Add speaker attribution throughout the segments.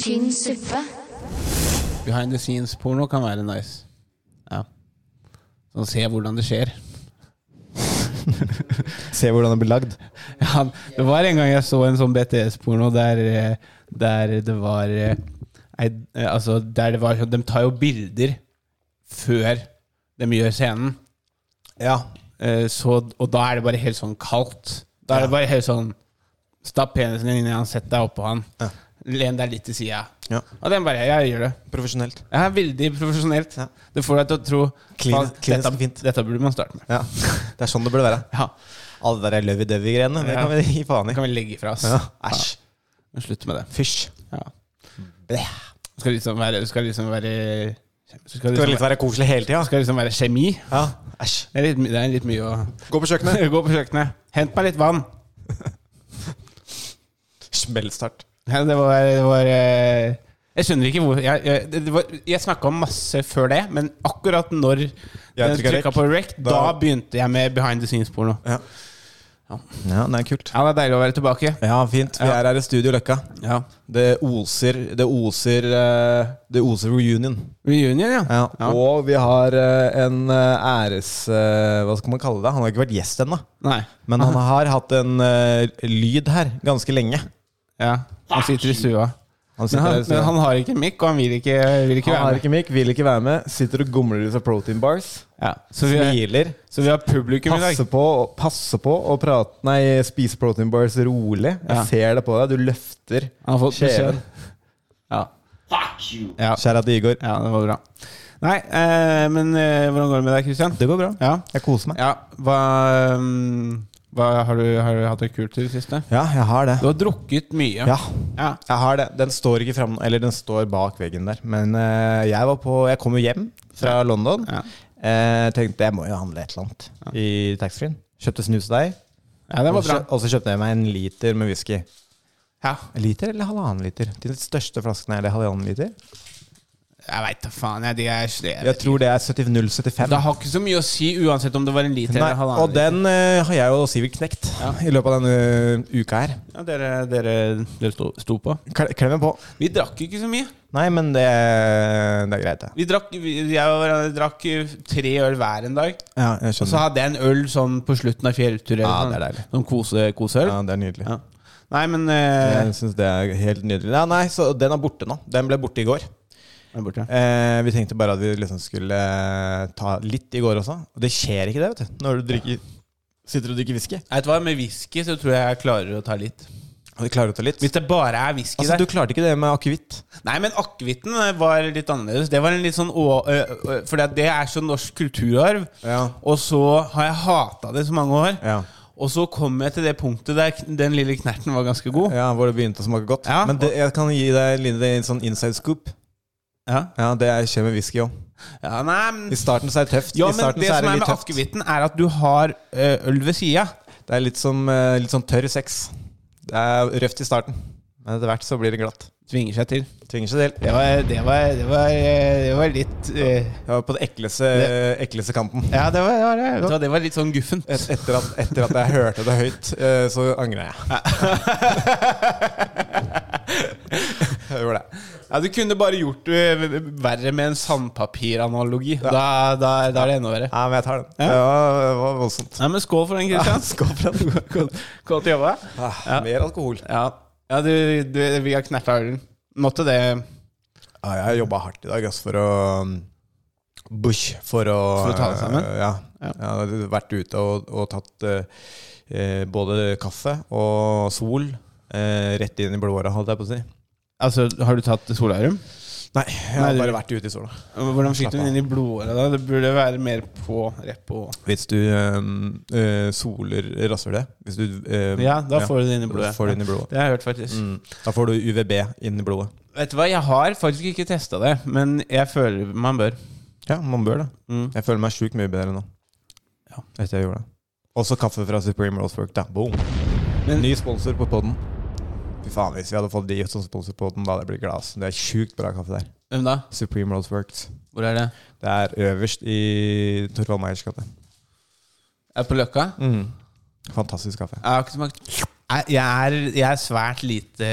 Speaker 1: tynn suppe.
Speaker 2: Behind the scenes-porno kan være nice. Ja. Sånn se hvordan det skjer.
Speaker 3: Se hvordan det blir lagd.
Speaker 2: Ja, det var en gang jeg så en sånn BTS-porno der, eh, der det var eh, ei, eh, Altså, der det var sånn De tar jo bilder før de gjør scenen.
Speaker 3: Ja.
Speaker 2: Eh, Så, og da er det bare helt sånn kaldt. Da er det bare helt sånn Stapp penisen din inn i han, sett deg oppå han.
Speaker 3: Ja.
Speaker 2: Len deg litt til sida.
Speaker 3: Ja.
Speaker 2: Og den bare Jeg gjør det.
Speaker 3: Profesjonelt.
Speaker 2: Det er veldig profesjonelt.
Speaker 3: Ja.
Speaker 2: Det får deg til å tro
Speaker 3: Klin-
Speaker 2: faen,
Speaker 3: klinisk
Speaker 2: dette,
Speaker 3: fint.
Speaker 2: dette burde man starte med.
Speaker 3: Ja. Det er sånn det burde være.
Speaker 2: Ja,
Speaker 3: Alle de der lovey-dovey-greiene, det
Speaker 2: Ja.
Speaker 3: kan vi gi faen
Speaker 2: Det
Speaker 3: i.
Speaker 2: kan vi legge fra oss.
Speaker 3: Ja. Æsj.
Speaker 2: Ja, Slutt med det.
Speaker 3: Fysj.
Speaker 2: Ja.
Speaker 3: Blæh.
Speaker 2: Det skal liksom være Det skal liksom være det skal
Speaker 3: Det skal
Speaker 2: liksom,
Speaker 3: litt være koselig hele tida.
Speaker 2: det skal liksom være kjemi.
Speaker 3: Ja. Æsj.
Speaker 2: Det er litt, my- det er litt mye å
Speaker 3: Gå på kjøkkenet.
Speaker 2: Gå på kjøkkenet. Hent meg litt vann.
Speaker 3: Smellstart.
Speaker 2: Ja, det var, det var eh, Jeg skjønner ikke hvor Jeg, jeg, det- det var- jeg snakka om masse før det, men akkurat når den
Speaker 3: trykker
Speaker 2: trykka
Speaker 3: rec.
Speaker 2: på rec, da,
Speaker 3: Da-
Speaker 2: begynte jeg med behind the scenes-porno.
Speaker 3: Ja. ja, det er kult.
Speaker 2: Ja, det er deilig å være tilbake.
Speaker 3: Ja, fint. Vi
Speaker 2: Ja.
Speaker 3: er her i Studio Løkka.
Speaker 2: Ja.
Speaker 3: Det oser Det oser, eh, det oser reunion.
Speaker 2: Reunion, ja.
Speaker 3: Ja.
Speaker 2: Ja.
Speaker 3: Og vi har eh, en eh, æres... eh, Hva skal man kalle det? Han har ikke vært gjest ennå.
Speaker 2: Nei.
Speaker 3: Men han har hatt en eh, lyd her ganske lenge.
Speaker 2: Ja. Han sitter i stua.
Speaker 3: Han,
Speaker 2: Men
Speaker 3: sitter her
Speaker 2: han,
Speaker 3: i stua.
Speaker 2: men han har ikke mikk, og han vil ikke, vil ikke
Speaker 3: han
Speaker 2: være
Speaker 3: har
Speaker 2: med.
Speaker 3: ikke mic, vil ikke være med. Sitter og gomler i seg protein bars.
Speaker 2: Ja. Så, vi,
Speaker 3: Smiler.
Speaker 2: så vi har publikum i dag.
Speaker 3: Passer på, passer på å prate Nei, spise protein bars rolig. Jeg
Speaker 2: Ja.
Speaker 3: ser det på deg. Du løfter
Speaker 2: Han har fått beskjed.
Speaker 3: kjeven.
Speaker 2: Ja. Ja.
Speaker 3: Kjære til Igor.
Speaker 2: ja, det var bra. Nei, eh, men eh, hvordan går det med deg, Christian?
Speaker 3: Det går bra.
Speaker 2: Ja.
Speaker 3: Jeg koser meg.
Speaker 2: ja. Hva, mm, hva har, du, har du hatt det kult i det siste?
Speaker 3: Ja, jeg har det.
Speaker 2: Du har drukket mye.
Speaker 3: Ja,
Speaker 2: Ja.
Speaker 3: jeg har det. Den står ikke fram, eller den står bak veggen der. Men eh, jeg var på Jeg kom jo hjem fra London.
Speaker 2: Ja.
Speaker 3: Eh, tenkte jeg må jo handle et eller annet i taxfree-en. Kjøpte snus til deg.
Speaker 2: Ja, det var
Speaker 3: Og
Speaker 2: bra.
Speaker 3: så- Og så kjøpte jeg meg en liter med whisky.
Speaker 2: Ja.
Speaker 3: En liter eller halvannen liter? De største flaskene er det halvannen liter.
Speaker 2: Jeg veit da faen. Jeg, de er sle-
Speaker 3: Jeg tror det er 70-075.
Speaker 2: Det har ikke så mye å si uansett om det var en liter
Speaker 3: Nei,
Speaker 2: eller halvannen.
Speaker 3: og den eh, har jeg og Sivert knekt i løpet av denne uka her.
Speaker 2: liter. Ja, dere dere, dere sto, sto på.
Speaker 3: Kle- Klemmer på.
Speaker 2: Vi drakk ikke så mye.
Speaker 3: Nei, men det, det er greit, det.
Speaker 2: Vi drakk, vi, jeg og hverandre drakk eh, tre øl hver en dag.
Speaker 3: Ja, jeg
Speaker 2: Og så
Speaker 3: skjønner.
Speaker 2: hadde jeg en øl sånn på slutten av fjellturen.
Speaker 3: Mm. Ja,
Speaker 2: sånn-
Speaker 3: det er deilig.
Speaker 2: Sånn kose, koseøl.
Speaker 3: Ja, det er nydelig.
Speaker 2: Ja. Nei, men eh,
Speaker 3: Jeg syns det er helt nydelig. Nei, nei, så den er borte nå. Den ble borte i går.
Speaker 2: jeg er borte.
Speaker 3: Eh, vi tenkte bare at vi liksom skulle eh, ta litt i går også. Og det skjer ikke det, vet du. Når du drikker, sitter og drikker whisky.
Speaker 2: Vet du hva, Med whisky så tror jeg jeg klarer å ta litt.
Speaker 3: Og du klarer å ta litt.
Speaker 2: Hvis det bare er whisky
Speaker 3: Altså, du
Speaker 2: der.
Speaker 3: klarte ikke det med akevitt.
Speaker 2: Nei, men akevitten eh, var litt annerledes. Det var en litt sånn For det er så norsk kulturarv.
Speaker 3: Ja.
Speaker 2: Og så har jeg hata det så mange år.
Speaker 3: Ja.
Speaker 2: Og så kom jeg til det punktet der kn- den lille knerten var ganske god.
Speaker 3: Ja, hvor det begynte å smake godt.
Speaker 2: Ja.
Speaker 3: Men det, jeg kan gi deg en liten sånn inside scoop.
Speaker 2: Ja,
Speaker 3: Ja, det er- skjer med whisky òg.
Speaker 2: ja nei men
Speaker 3: I starten så er det tøft.
Speaker 2: ja,
Speaker 3: I
Speaker 2: men
Speaker 3: starten
Speaker 2: det
Speaker 3: så er
Speaker 2: som
Speaker 3: det
Speaker 2: er
Speaker 3: litt
Speaker 2: med
Speaker 3: tøft.
Speaker 2: akevitten, er at du har eh, øl ved sida.
Speaker 3: Det er litt, som, eh, litt sånn tørr sex. Det er røft i starten, men etter hvert så blir det glatt.
Speaker 2: Tvinger seg til.
Speaker 3: Tvinger seg til.
Speaker 2: Det var, det var, det var, eh, det var litt eh,
Speaker 3: Jeg var på den ekleste, ekleste kampen.
Speaker 2: Ja, det var, det var, det var, det var litt sånn guffen.
Speaker 3: Et, etter, at, etter at jeg hørte det høyt, eh, så angra jeg. Jeg gjorde det.
Speaker 2: Ja, Du kunne bare gjort det eh, verre med en sandpapiranalogi. Da, da, da er det enda verre.
Speaker 3: Nei, men jeg tar den. Det var, det var voldsomt.
Speaker 2: Nei, men Skål for den, Kristian.
Speaker 3: Skål for
Speaker 2: Godt- Godt jobba.
Speaker 3: Ah,
Speaker 2: Ja.
Speaker 3: Mer alkohol.
Speaker 2: Ja, ja du, du, vi har knerta ølen. Måtte det
Speaker 3: Ja, jeg har jobba hardt i dag ass, for å um, Bush, for å eh,
Speaker 2: For å ta det sammen?
Speaker 3: Ja. Jeg har vært ute og, og tatt eh, eh, både kaffe og sol eh, rett inn i blodåra, holdt jeg på å si.
Speaker 2: Altså, Har du tatt solarium?
Speaker 3: Nei, jeg
Speaker 2: Nei,
Speaker 3: har
Speaker 2: du-
Speaker 3: bare vært ute i sola.
Speaker 2: Hvordan fikk
Speaker 3: Slapp
Speaker 2: du
Speaker 3: av.
Speaker 2: den inn i blodåra? da? Det burde være mer på repo.
Speaker 3: Hvis du eh, eh, soler rasshølet Hvis du eh,
Speaker 2: Ja, da får du det inn i
Speaker 3: da
Speaker 2: blodet.
Speaker 3: får du inn i blodet.
Speaker 2: Det har jeg hørt, faktisk.
Speaker 3: Mm. Da får du UVB inn i blodet.
Speaker 2: Vet du hva, Jeg har faktisk ikke testa det, men jeg føler man bør.
Speaker 3: Ja, man bør det.
Speaker 2: Mm.
Speaker 3: Jeg føler meg sjukt mye bedre nå.
Speaker 2: Ja.
Speaker 3: Etter jeg gjorde det. Også kaffe fra Supreme Roastwork. Da. Boom.
Speaker 2: Men-
Speaker 3: Ny sponsor på podden. Fy faen, hvis vi hadde fått de som sponsor på podden, da hadde jeg blitt glad. ass. Det er sjukt bra kaffe der.
Speaker 2: Hvem da?
Speaker 3: Supreme Roastworks.
Speaker 2: Hvor er det?
Speaker 3: Det er øverst i Torvald Meyers gate.
Speaker 2: Er det på Løkka?
Speaker 3: Mm. Fantastisk kaffe.
Speaker 2: Jeg har ikke smakt. Jeg, jeg, er, jeg er svært lite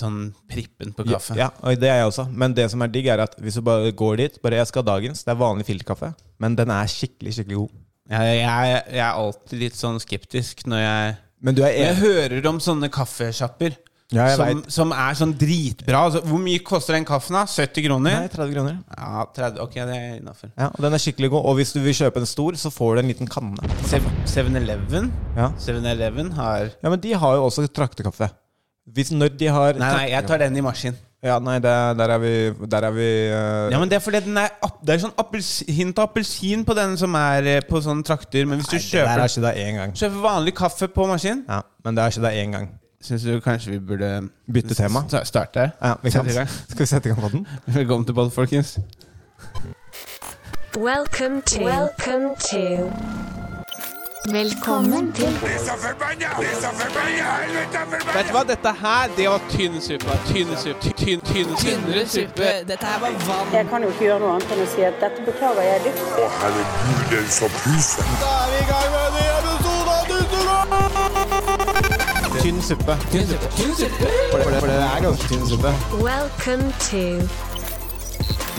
Speaker 2: sånn prippen på kaffe.
Speaker 3: Ja, og det er jeg også. Men det som er digg, er at hvis du bare går dit Bare jeg skal ha dagens. Det er vanlig filterkaffe, men den er skikkelig, skikkelig god.
Speaker 2: Jeg, jeg, jeg er alltid litt sånn skeptisk når jeg
Speaker 3: Men du er
Speaker 2: Jeg
Speaker 3: enig?
Speaker 2: hører om sånne kaffesjapper
Speaker 3: Ja, jeg
Speaker 2: som,
Speaker 3: vet.
Speaker 2: som er sånn dritbra. Altså, hvor mye koster den kaffen, da? 70 kroner?
Speaker 3: Nei, 30 kroner.
Speaker 2: Ja, 30. Ok, det er innafor.
Speaker 3: Ja, og Den er skikkelig god. Og hvis du vil kjøpe en stor, så får du en liten kanne.
Speaker 2: 7-Eleven
Speaker 3: Ja,
Speaker 2: 7-Eleven har
Speaker 3: ja men de har jo også traktekaffe. Hvis når de har
Speaker 2: Nei, nei, jeg tar den i maskin.
Speaker 3: Ja, nei, der, der er vi, der er vi eh,
Speaker 2: Ja, men Det er fordi den er app, Det er sånn appelsin, hint av appelsin på den som er eh, på sånne trakter. Men hvis du
Speaker 3: Nei, det der
Speaker 2: kjøper,
Speaker 3: har skjedd deg én gang.
Speaker 2: kjøper vanlig kaffe på maskin
Speaker 3: Ja, men det har skjedd deg én gang.
Speaker 2: Syns du kanskje vi burde
Speaker 3: Bytte tema.
Speaker 2: sta- Starte?
Speaker 3: Ja, vi kan.
Speaker 2: Sette i gang.
Speaker 3: Skal vi sette i gang på den?
Speaker 2: Velkommen til Bodd, folkens.
Speaker 1: Welcome to. Welcome to. Velkommen til
Speaker 2: Vet du hva, dette her, det var tynn suppe. Tynn suppe. Tynn, tynn, tynnere suppe.
Speaker 4: Dette her var vann.
Speaker 5: Jeg kan jo ikke gjøre noe annet enn å si at dette beklager jeg dypt.
Speaker 6: Å, herregud, den som puser.
Speaker 3: Tynn suppe. For det, for det er ganske tynn suppe.
Speaker 1: Welcome to.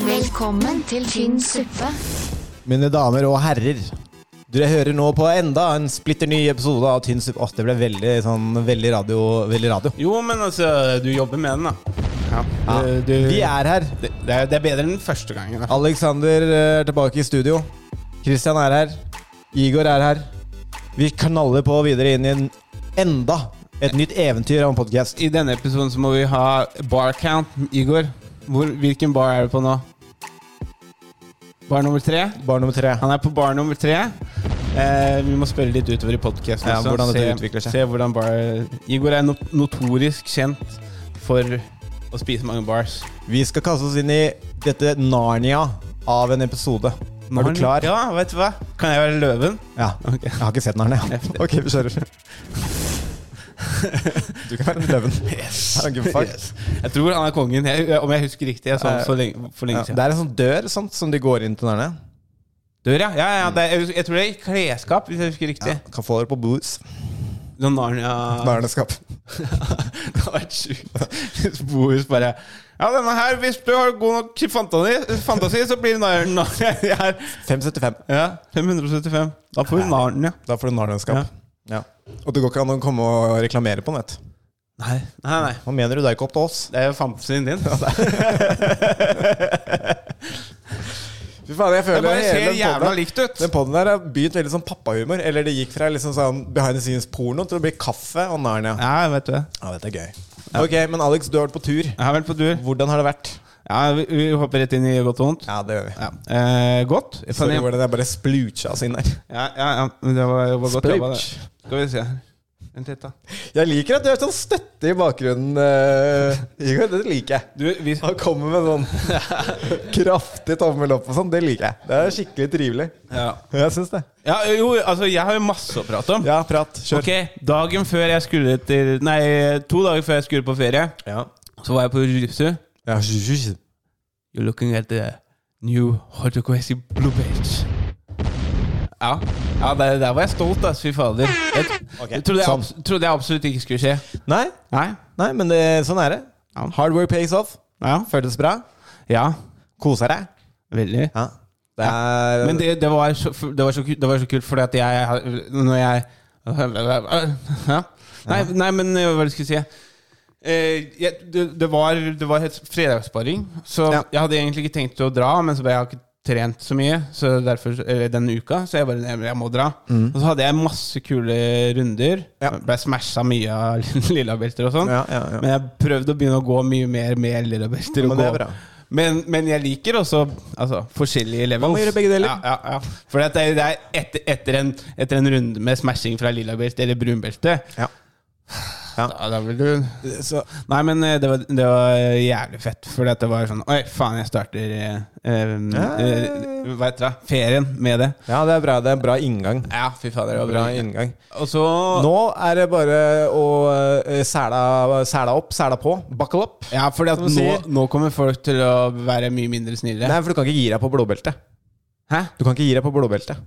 Speaker 1: Velkommen til tynn suppe.
Speaker 3: Mine damer og herrer. Dere hører nå på enda en splitter ny episode av Tynn suppe. Åh, det ble veldig, sånn, veldig radio. Veldig radio.
Speaker 2: Jo, men altså, du jobber med den, da. Ja.
Speaker 3: Ja.
Speaker 2: Du, du,
Speaker 3: Vi er her.
Speaker 2: det, det er, det er bedre enn den første gangen. Da.
Speaker 3: Alexander eh, er tilbake i studio. Christian er her. Igor er her. Vi knaller på videre inn i en enda et nytt eventyr av en podkast.
Speaker 2: I denne episoden så må vi ha bar count. Igor, hvor, hvilken bar er du på nå? Bar nummer tre?
Speaker 3: Bar nummer tre.
Speaker 2: Han er på bar nummer tre. Eh, vi må spørre litt utover i podkasten.
Speaker 3: Ja, hvordan dette utvikler seg.
Speaker 2: Se hvordan bar Igor er no notorisk kjent for å spise mange bars.
Speaker 3: Vi skal kaste oss inn i dette Narnia av en episode. Er du klar?
Speaker 2: Ja, vet du hva? Kan jeg være løven?
Speaker 3: Ja.
Speaker 2: Ok.
Speaker 3: Jeg har ikke sett Narnia. Ok, vi kjører. Du kan være løven. I don't give a fuck.
Speaker 2: Yes. Jeg tror han er kongen, jeg, om jeg husker riktig. Jeg så han så lenge, for
Speaker 3: Eh, Ja,
Speaker 2: lenge siden.
Speaker 3: det er en sånn dør sånt, som de går inn til Narnia.
Speaker 2: Dør, ja. ja, ja det er, jeg hus- jeg tror det er i klesskap, hvis jeg husker riktig.
Speaker 3: Kan få det på boots.
Speaker 2: Når Narnia
Speaker 3: Narniaskap.
Speaker 2: Det hadde vært sjukt. Hvis Bohus bare Ja, denne her, hvis du har god nok fantasi, fantasi så blir det Nar- Narnia her.
Speaker 3: 575.
Speaker 2: Ja, 575. Da får vi Narnia.
Speaker 3: Da får du Narniaskap. Ja. Og det går ikke an å komme og reklamere på nett.
Speaker 2: Nei, nei. nei.
Speaker 3: Hva mener du? Det er ikke opp til oss.
Speaker 2: Det er jo fantasien din. Jeg
Speaker 3: Fy faen, jeg føler
Speaker 2: bare
Speaker 3: hele
Speaker 2: ser
Speaker 3: den
Speaker 2: jævla
Speaker 3: podden-
Speaker 2: likt ut.
Speaker 3: Den podden der har begynt veldig sånn pappahumor. Eller det gikk fra liksom sånn behind the scenes porno til å bli kaffe og Narnia.
Speaker 2: Ja, vet du.
Speaker 3: Ja, dette er gøy. Ok, Men Alex, du har vært på tur.
Speaker 2: Jeg har vært på tur.
Speaker 3: Hvordan har det vært?
Speaker 2: Ja, vi, vi hopper rett inn i godt og vondt.
Speaker 3: Ja, det gjør vi.
Speaker 2: Ja. Eh, godt.
Speaker 3: Sorry, hvordan jeg bare sploocha oss inn der.
Speaker 2: Ja, ja, ja. men Det var, det var godt jobba, det.
Speaker 3: Splooch.
Speaker 2: Skal vi se. Vent litt, da.
Speaker 3: Jeg liker at du har sånn støtte i bakgrunnen, eh, Igor. Det liker jeg.
Speaker 2: Du, vi,
Speaker 3: Han kommer med sånn kraftig tommel opp og sånn. Det liker jeg. Det er skikkelig trivelig.
Speaker 2: ja.
Speaker 3: Jeg syns det.
Speaker 2: ja, jo, altså, jeg har jo masse å prate om.
Speaker 3: Ja, prat. Kjør.
Speaker 2: Ok, dagen før jeg skulle til Nei, to dager før jeg skulle på ferie,
Speaker 3: Ja.
Speaker 2: så var jeg på Jujutsu.
Speaker 3: Ja, sju, sju, sju.
Speaker 2: You're looking at the new Hotokoesi Blue Page. Ja, ja der, der var jeg stolt, ass. Fy fader. Jeg,
Speaker 3: Ok,
Speaker 2: jeg trodde, jeg,
Speaker 3: sånn.
Speaker 2: abs- trodde jeg absolutt ikke skulle skje.
Speaker 3: Nei,
Speaker 2: Nei?
Speaker 3: nei, men det, sånn er det.
Speaker 2: Ja.
Speaker 3: Hard work pays off.
Speaker 2: Ja.
Speaker 3: Føltes bra.
Speaker 2: ja
Speaker 3: Kosa deg.
Speaker 2: veldig.
Speaker 3: Ja. Det er
Speaker 2: Men det, det, var så, det, var så, ku- det var så kult, fordi at jeg har- Når jeg ja. nei, nei, men eh, hva skal jeg si? Eh, jeg, det, det var, det var helt fredagssparing, så
Speaker 3: Ja.
Speaker 2: jeg hadde egentlig ikke tenkt å dra. Men så bare jeg har ikke trent så mye Så derfor, eller denne uka, så jeg bare jeg, jeg må dra. Og så hadde jeg masse kule runder.
Speaker 3: Mm. Ja.
Speaker 2: Ble smasha mye av lillabelter og sånn.
Speaker 3: Ja, ja, ja.
Speaker 2: Men jeg prøvde å begynne å gå mye mer med lillabelter. og
Speaker 3: Men det er
Speaker 2: gå-
Speaker 3: bra.
Speaker 2: Men, men jeg liker også altså, forskjellige levels.
Speaker 3: Man må gjøre begge deler.
Speaker 2: Ja, ja, ja. For det er, det er etter, etter, en, etter en runde med smashing fra lillabelte eller brunbelte
Speaker 3: Ja. Ja.
Speaker 2: Da, da vil du
Speaker 3: så,
Speaker 2: Nei, men eh, det var, det var jævlig fett. For det var sånn Oi, faen, jeg starter eh, eh, eh, Hva heter det? Ferien med det.
Speaker 3: ja, det er bra. Det er en bra inngang.
Speaker 2: Ja, fy fader, det
Speaker 3: Det er
Speaker 2: var
Speaker 3: bra
Speaker 2: bra.
Speaker 3: inngang.
Speaker 2: Og så
Speaker 3: Nå er det bare å eh, sæla, sæla opp, sæla på. Buckle up.
Speaker 2: Ja, for
Speaker 3: Som
Speaker 2: nå,
Speaker 3: du sier.
Speaker 2: nå kommer folk til å være mye mindre snille.
Speaker 3: Nei, for du kan ikke gi deg på blåbeltet.
Speaker 2: Hæ?
Speaker 3: Du kan ikke gi deg på blåbeltet.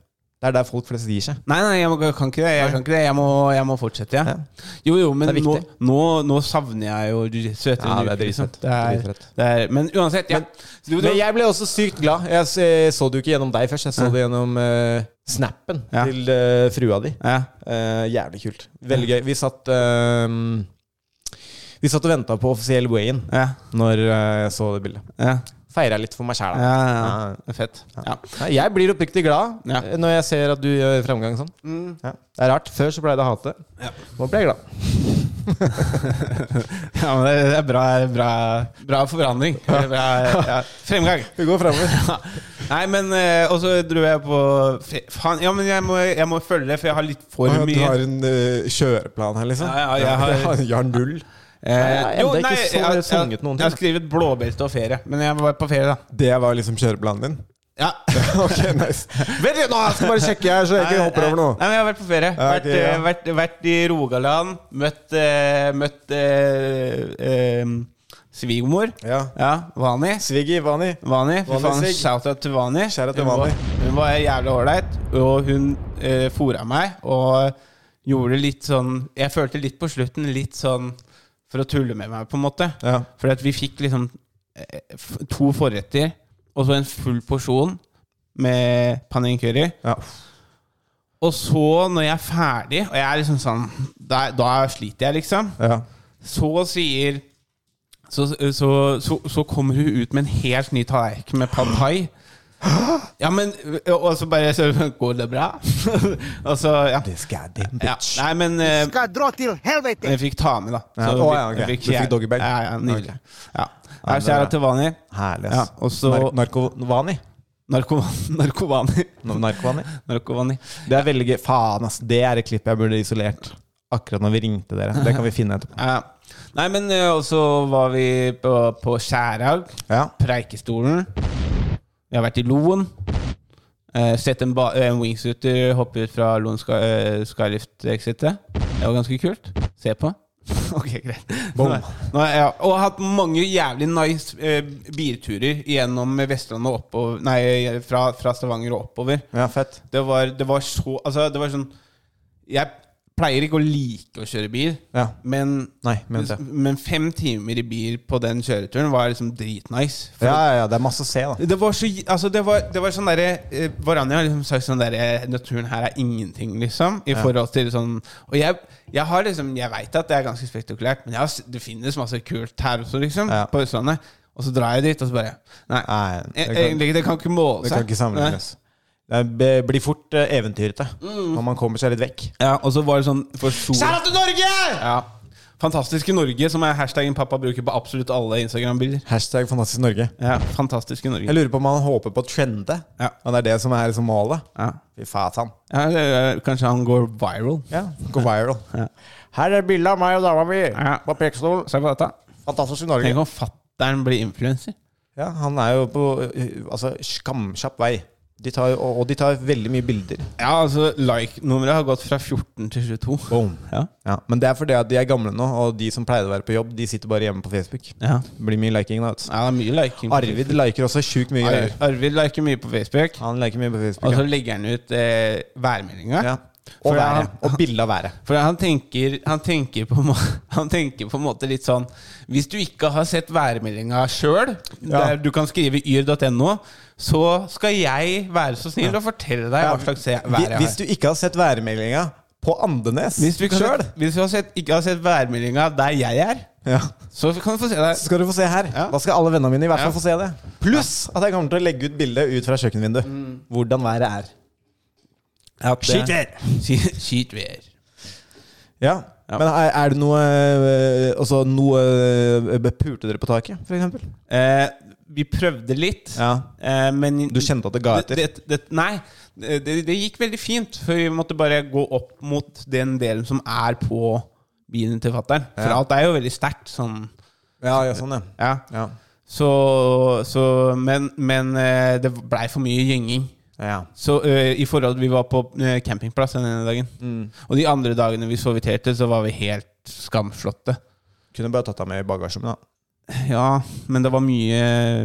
Speaker 3: Det er der folk flest gir seg.
Speaker 2: Nei, nei, jeg må, kan ikke det. Jeg kan ikke det. Jeg må, jeg må fortsette, jeg.
Speaker 3: Ja.
Speaker 2: Jo, jo, men
Speaker 3: Det er
Speaker 2: nå,
Speaker 3: viktig.
Speaker 2: nå, nå savner jeg jo de søte
Speaker 3: Ja, det er
Speaker 2: uker, liksom.
Speaker 3: dritfett.
Speaker 2: Det er-
Speaker 3: Det er dritfett.
Speaker 2: det er- Men uansett, ja. Du- du-
Speaker 3: Men jeg ble også sykt glad. Jeg s- eh, så det jo ikke gjennom deg først, jeg så det gjennom eh, snappen
Speaker 2: Ja.
Speaker 3: til eh, frua di.
Speaker 2: ja.
Speaker 3: Eh, jævlig kult. Veldig gøy. Vi satt eh, Vi satt og venta på offisiell way-in
Speaker 2: Ja,
Speaker 3: når eh, jeg så det bildet.
Speaker 2: ja,
Speaker 3: Feira litt for meg sjæl, da.
Speaker 2: ja, ja. Det er Fett. Ja.
Speaker 3: Nei, Jeg blir oppriktig glad
Speaker 2: Ja.
Speaker 3: eh, når jeg ser at du gjør framgang sånn. Ja. Det er rart. Før så pleide jeg å hate det. Nå ble jeg glad.
Speaker 2: ja, men det det er bra, bra, bra forandring. Bra, ja. Fremgang.
Speaker 3: Vi går framover.
Speaker 2: Ja. Nei, men eh, Og så dro jeg på fe- Faen, ja, men jeg må, jeg må følge det, for jeg har litt for
Speaker 3: Du
Speaker 2: mye
Speaker 3: har en eh, kjøreplan her, liksom?
Speaker 2: Ja, ja, jeg har-
Speaker 3: jeg har null.
Speaker 2: Eh,
Speaker 3: Nei,
Speaker 2: jo,
Speaker 3: enda ikke
Speaker 2: nei,
Speaker 3: så-
Speaker 2: jeg, jeg, jeg,
Speaker 3: sunget noen ting.
Speaker 2: har skrevet blåbelte og ferie, men jeg var på ferie, da.
Speaker 3: Det var liksom kjøreplanen din?
Speaker 2: Ja.
Speaker 3: ok, nice. Vent litt, nå jeg skal bare sjekke her, så jeg ikke hopper over
Speaker 2: Nei,
Speaker 3: noe.
Speaker 2: nei, men jeg har vært på ferie.
Speaker 3: Ja, ok,
Speaker 2: vært, eh,
Speaker 3: ja.
Speaker 2: vært, vært i Rogaland. Møtt, eh, møtt eh, eh, svigermor.
Speaker 3: Ja.
Speaker 2: Ja, Vani.
Speaker 3: Sviggy, Vani.
Speaker 2: Vani, fy
Speaker 3: Vani
Speaker 2: faen,
Speaker 3: Sig.
Speaker 2: shout-out til Vani.
Speaker 3: Shout-out til
Speaker 2: Hun var-
Speaker 3: Vani.
Speaker 2: Hun var jævlig ålreit, og hun eh, fora meg. Og gjorde litt sånn Jeg følte litt på slutten litt sånn for å tulle med meg, på en måte.
Speaker 3: Ja.
Speaker 2: Fordi at vi fikk liksom eh, f- to forretter og så en full porsjon med panin curry.
Speaker 3: Ja.
Speaker 2: Og så, når jeg er ferdig, og jeg er liksom sånn Da, da sliter jeg, liksom.
Speaker 3: ja.
Speaker 2: Så sier så, så, så, så kommer hun ut med en helt ny tallerken med pad thai. Ja, men Og og så bare så, Går det bra? og så, ja. ja. Nei, men eh,
Speaker 4: Skal dra til helvete!
Speaker 2: jeg fikk ta med, da.
Speaker 3: Ja,
Speaker 2: Så
Speaker 3: å, ja, ok. Du fikk
Speaker 2: jeg-
Speaker 3: doggybag?
Speaker 2: Ja, ja, nydelig.
Speaker 3: Ok.
Speaker 2: Ja.
Speaker 3: Ja,
Speaker 2: Her
Speaker 3: det
Speaker 2: ser
Speaker 3: er
Speaker 2: jeg til Vani.
Speaker 3: Herlig,
Speaker 2: Ja,
Speaker 3: ass.
Speaker 2: og så
Speaker 3: Nar- Narkovani.
Speaker 2: narkoman- narkovani.
Speaker 3: No- Narkovani.
Speaker 2: narkovani.
Speaker 3: Det er veldig gøy. Faen, ass. Det er et klipp jeg burde isolert. Akkurat når vi ringte dere. Det kan vi finne etterpå.
Speaker 2: Ja. Nei, men eh, Og så var vi på, på Skjærhaug.
Speaker 3: Ja.
Speaker 2: Preikestolen. Vi har vært i Loen. Eh, sett en, ba eh, en wingsuiter hoppe ut fra Loen Sky eh, Skylift-exitet. Det var ganske kult. Se på. ok, greit.
Speaker 3: Bom.
Speaker 2: Nå er- nå er jeg- og hatt mange jævlig nice eh, bilturer gjennom Vestlandet og oppover Nei, fra, fra Stavanger og oppover.
Speaker 3: ja, fett.
Speaker 2: Det var, det var så Altså, det var sånn Jeg pleier ikke å like å kjøre bil,
Speaker 3: Ja.
Speaker 2: men
Speaker 3: Nei, men det.
Speaker 2: men fem timer i bil på den kjøreturen var liksom dritnice. For
Speaker 3: Ja, ja, ja. Det er masse å se, da.
Speaker 2: det var så Altså, det var, det var sånn derre eh, Varanja har liksom sagt sånn derre Naturen her er ingenting, liksom. I forhold til sånn Og jeg, jeg har liksom Jeg veit at det er ganske spektakulært, men jeg har, s- det finnes masse kult her også, liksom.
Speaker 3: Ja.
Speaker 2: På Østlandet. Og så drar jeg dit, og så bare Nei.
Speaker 3: Nei, det
Speaker 2: e-
Speaker 3: kan-
Speaker 2: egentlig, det kan ikke måle
Speaker 3: Det
Speaker 2: seg.
Speaker 3: kan ikke sammenlignes. Det er- be- blir fort eh, eventyrete når man kommer seg litt vekk.
Speaker 2: Nei. Ja, og så var det sånn for sol-
Speaker 3: Kjære til Norge!
Speaker 2: Ja. Fantastiske Norge, som er hashtaggen pappa bruker på absolutt alle Instagram-bilder.
Speaker 3: Hashtag fantastisk Norge.
Speaker 2: Ja, fantastiske Norge.
Speaker 3: Jeg lurer på om han håper på å trende.
Speaker 2: Ja.
Speaker 3: Og det er det som er liksom målet.
Speaker 2: Ja.
Speaker 3: Fy faen.
Speaker 2: Ja, det, er- kanskje han går viral.
Speaker 3: Ja, Gå viral. Her er bilde av meg og dama mi
Speaker 2: Ja.
Speaker 3: på prekestol.
Speaker 2: Se på dette.
Speaker 3: Fantastisk
Speaker 2: Tenk
Speaker 3: Norge.
Speaker 2: om fatter'n blir influenser.
Speaker 3: Ja, han er jo på eh, altså, skamkjapp vei. De tar, jo- og, og de tar veldig mye bilder.
Speaker 2: Ja, altså like-nummeret har gått fra 14 til 22.
Speaker 3: Boom.
Speaker 2: Ja.
Speaker 3: Ja, men det er fordi at de er gamle nå, og de som pleide å være på jobb, de sitter bare hjemme på Facebook.
Speaker 2: Ja.
Speaker 3: Det blir mye liking da. vet du.
Speaker 2: ja, det er mye liking. på
Speaker 3: Arvid liker også sjukt mye
Speaker 2: Facebook.
Speaker 3: greier.
Speaker 2: Ar- Arvid Altså, liker mye på Facebook,
Speaker 3: Han liker mye på
Speaker 2: og
Speaker 3: Facebook.
Speaker 2: så
Speaker 3: ja.
Speaker 2: legger han ut eh, værmeldinga.
Speaker 3: Ja.
Speaker 2: For
Speaker 3: Og, været.
Speaker 2: han-
Speaker 3: og bilde av været.
Speaker 2: For han tenker, han, tenker på, en må- han tenker på en måte litt sånn Hvis du ikke har sett værmeldinga sjøl,
Speaker 3: Ja.
Speaker 2: der du kan skrive yr.no, så skal jeg være så snill å fortelle deg hva slags se- vær jeg har.
Speaker 3: Hvis du ikke har sett værmeldinga på Andenes
Speaker 2: Hvis vi, kan,
Speaker 3: sjøl,
Speaker 2: hvis vi har sett, ikke har sett værmeldinga der jeg er,
Speaker 3: ja.
Speaker 2: så kan du få se
Speaker 3: så
Speaker 2: deg.
Speaker 3: skal du få se her.
Speaker 2: Ja.
Speaker 3: Da skal alle vennene mine i hvert fall
Speaker 2: Ja.
Speaker 3: få se det. Pluss at jeg kommer til å legge ut bilde ut fra kjøkkenvinduet.
Speaker 2: Mm.
Speaker 3: Hvordan været er.
Speaker 2: At, eh,
Speaker 3: vær!
Speaker 2: sk- Skit vær.
Speaker 3: Ja.
Speaker 2: Ja.
Speaker 3: Men er, er det noe øh, Altså noe øh, Pulte dere på taket, for eksempel?
Speaker 2: Eh, vi prøvde litt,
Speaker 3: Ja.
Speaker 2: eh, men
Speaker 3: Du kjente at det ga etter?
Speaker 2: Det, det, nei, det, det gikk veldig fint. For vi måtte bare gå opp mot den delen som er på bilen til fatter'n. For
Speaker 3: Ja.
Speaker 2: alt er jo veldig sterkt. Sånn,
Speaker 3: Ja, ja, sånn, ja.
Speaker 2: ja.
Speaker 3: Ja.
Speaker 2: Så, så Men, men eh, det blei for mye gynging.
Speaker 3: ja.
Speaker 2: Så eh, i forhold Vi var på eh, campingplass den ene dagen. Og de andre dagene vi soviterte, så var vi helt skamslåtte.
Speaker 3: Kunne bare tatt deg med i bagasjerommet, da.
Speaker 2: Ja, men det var mye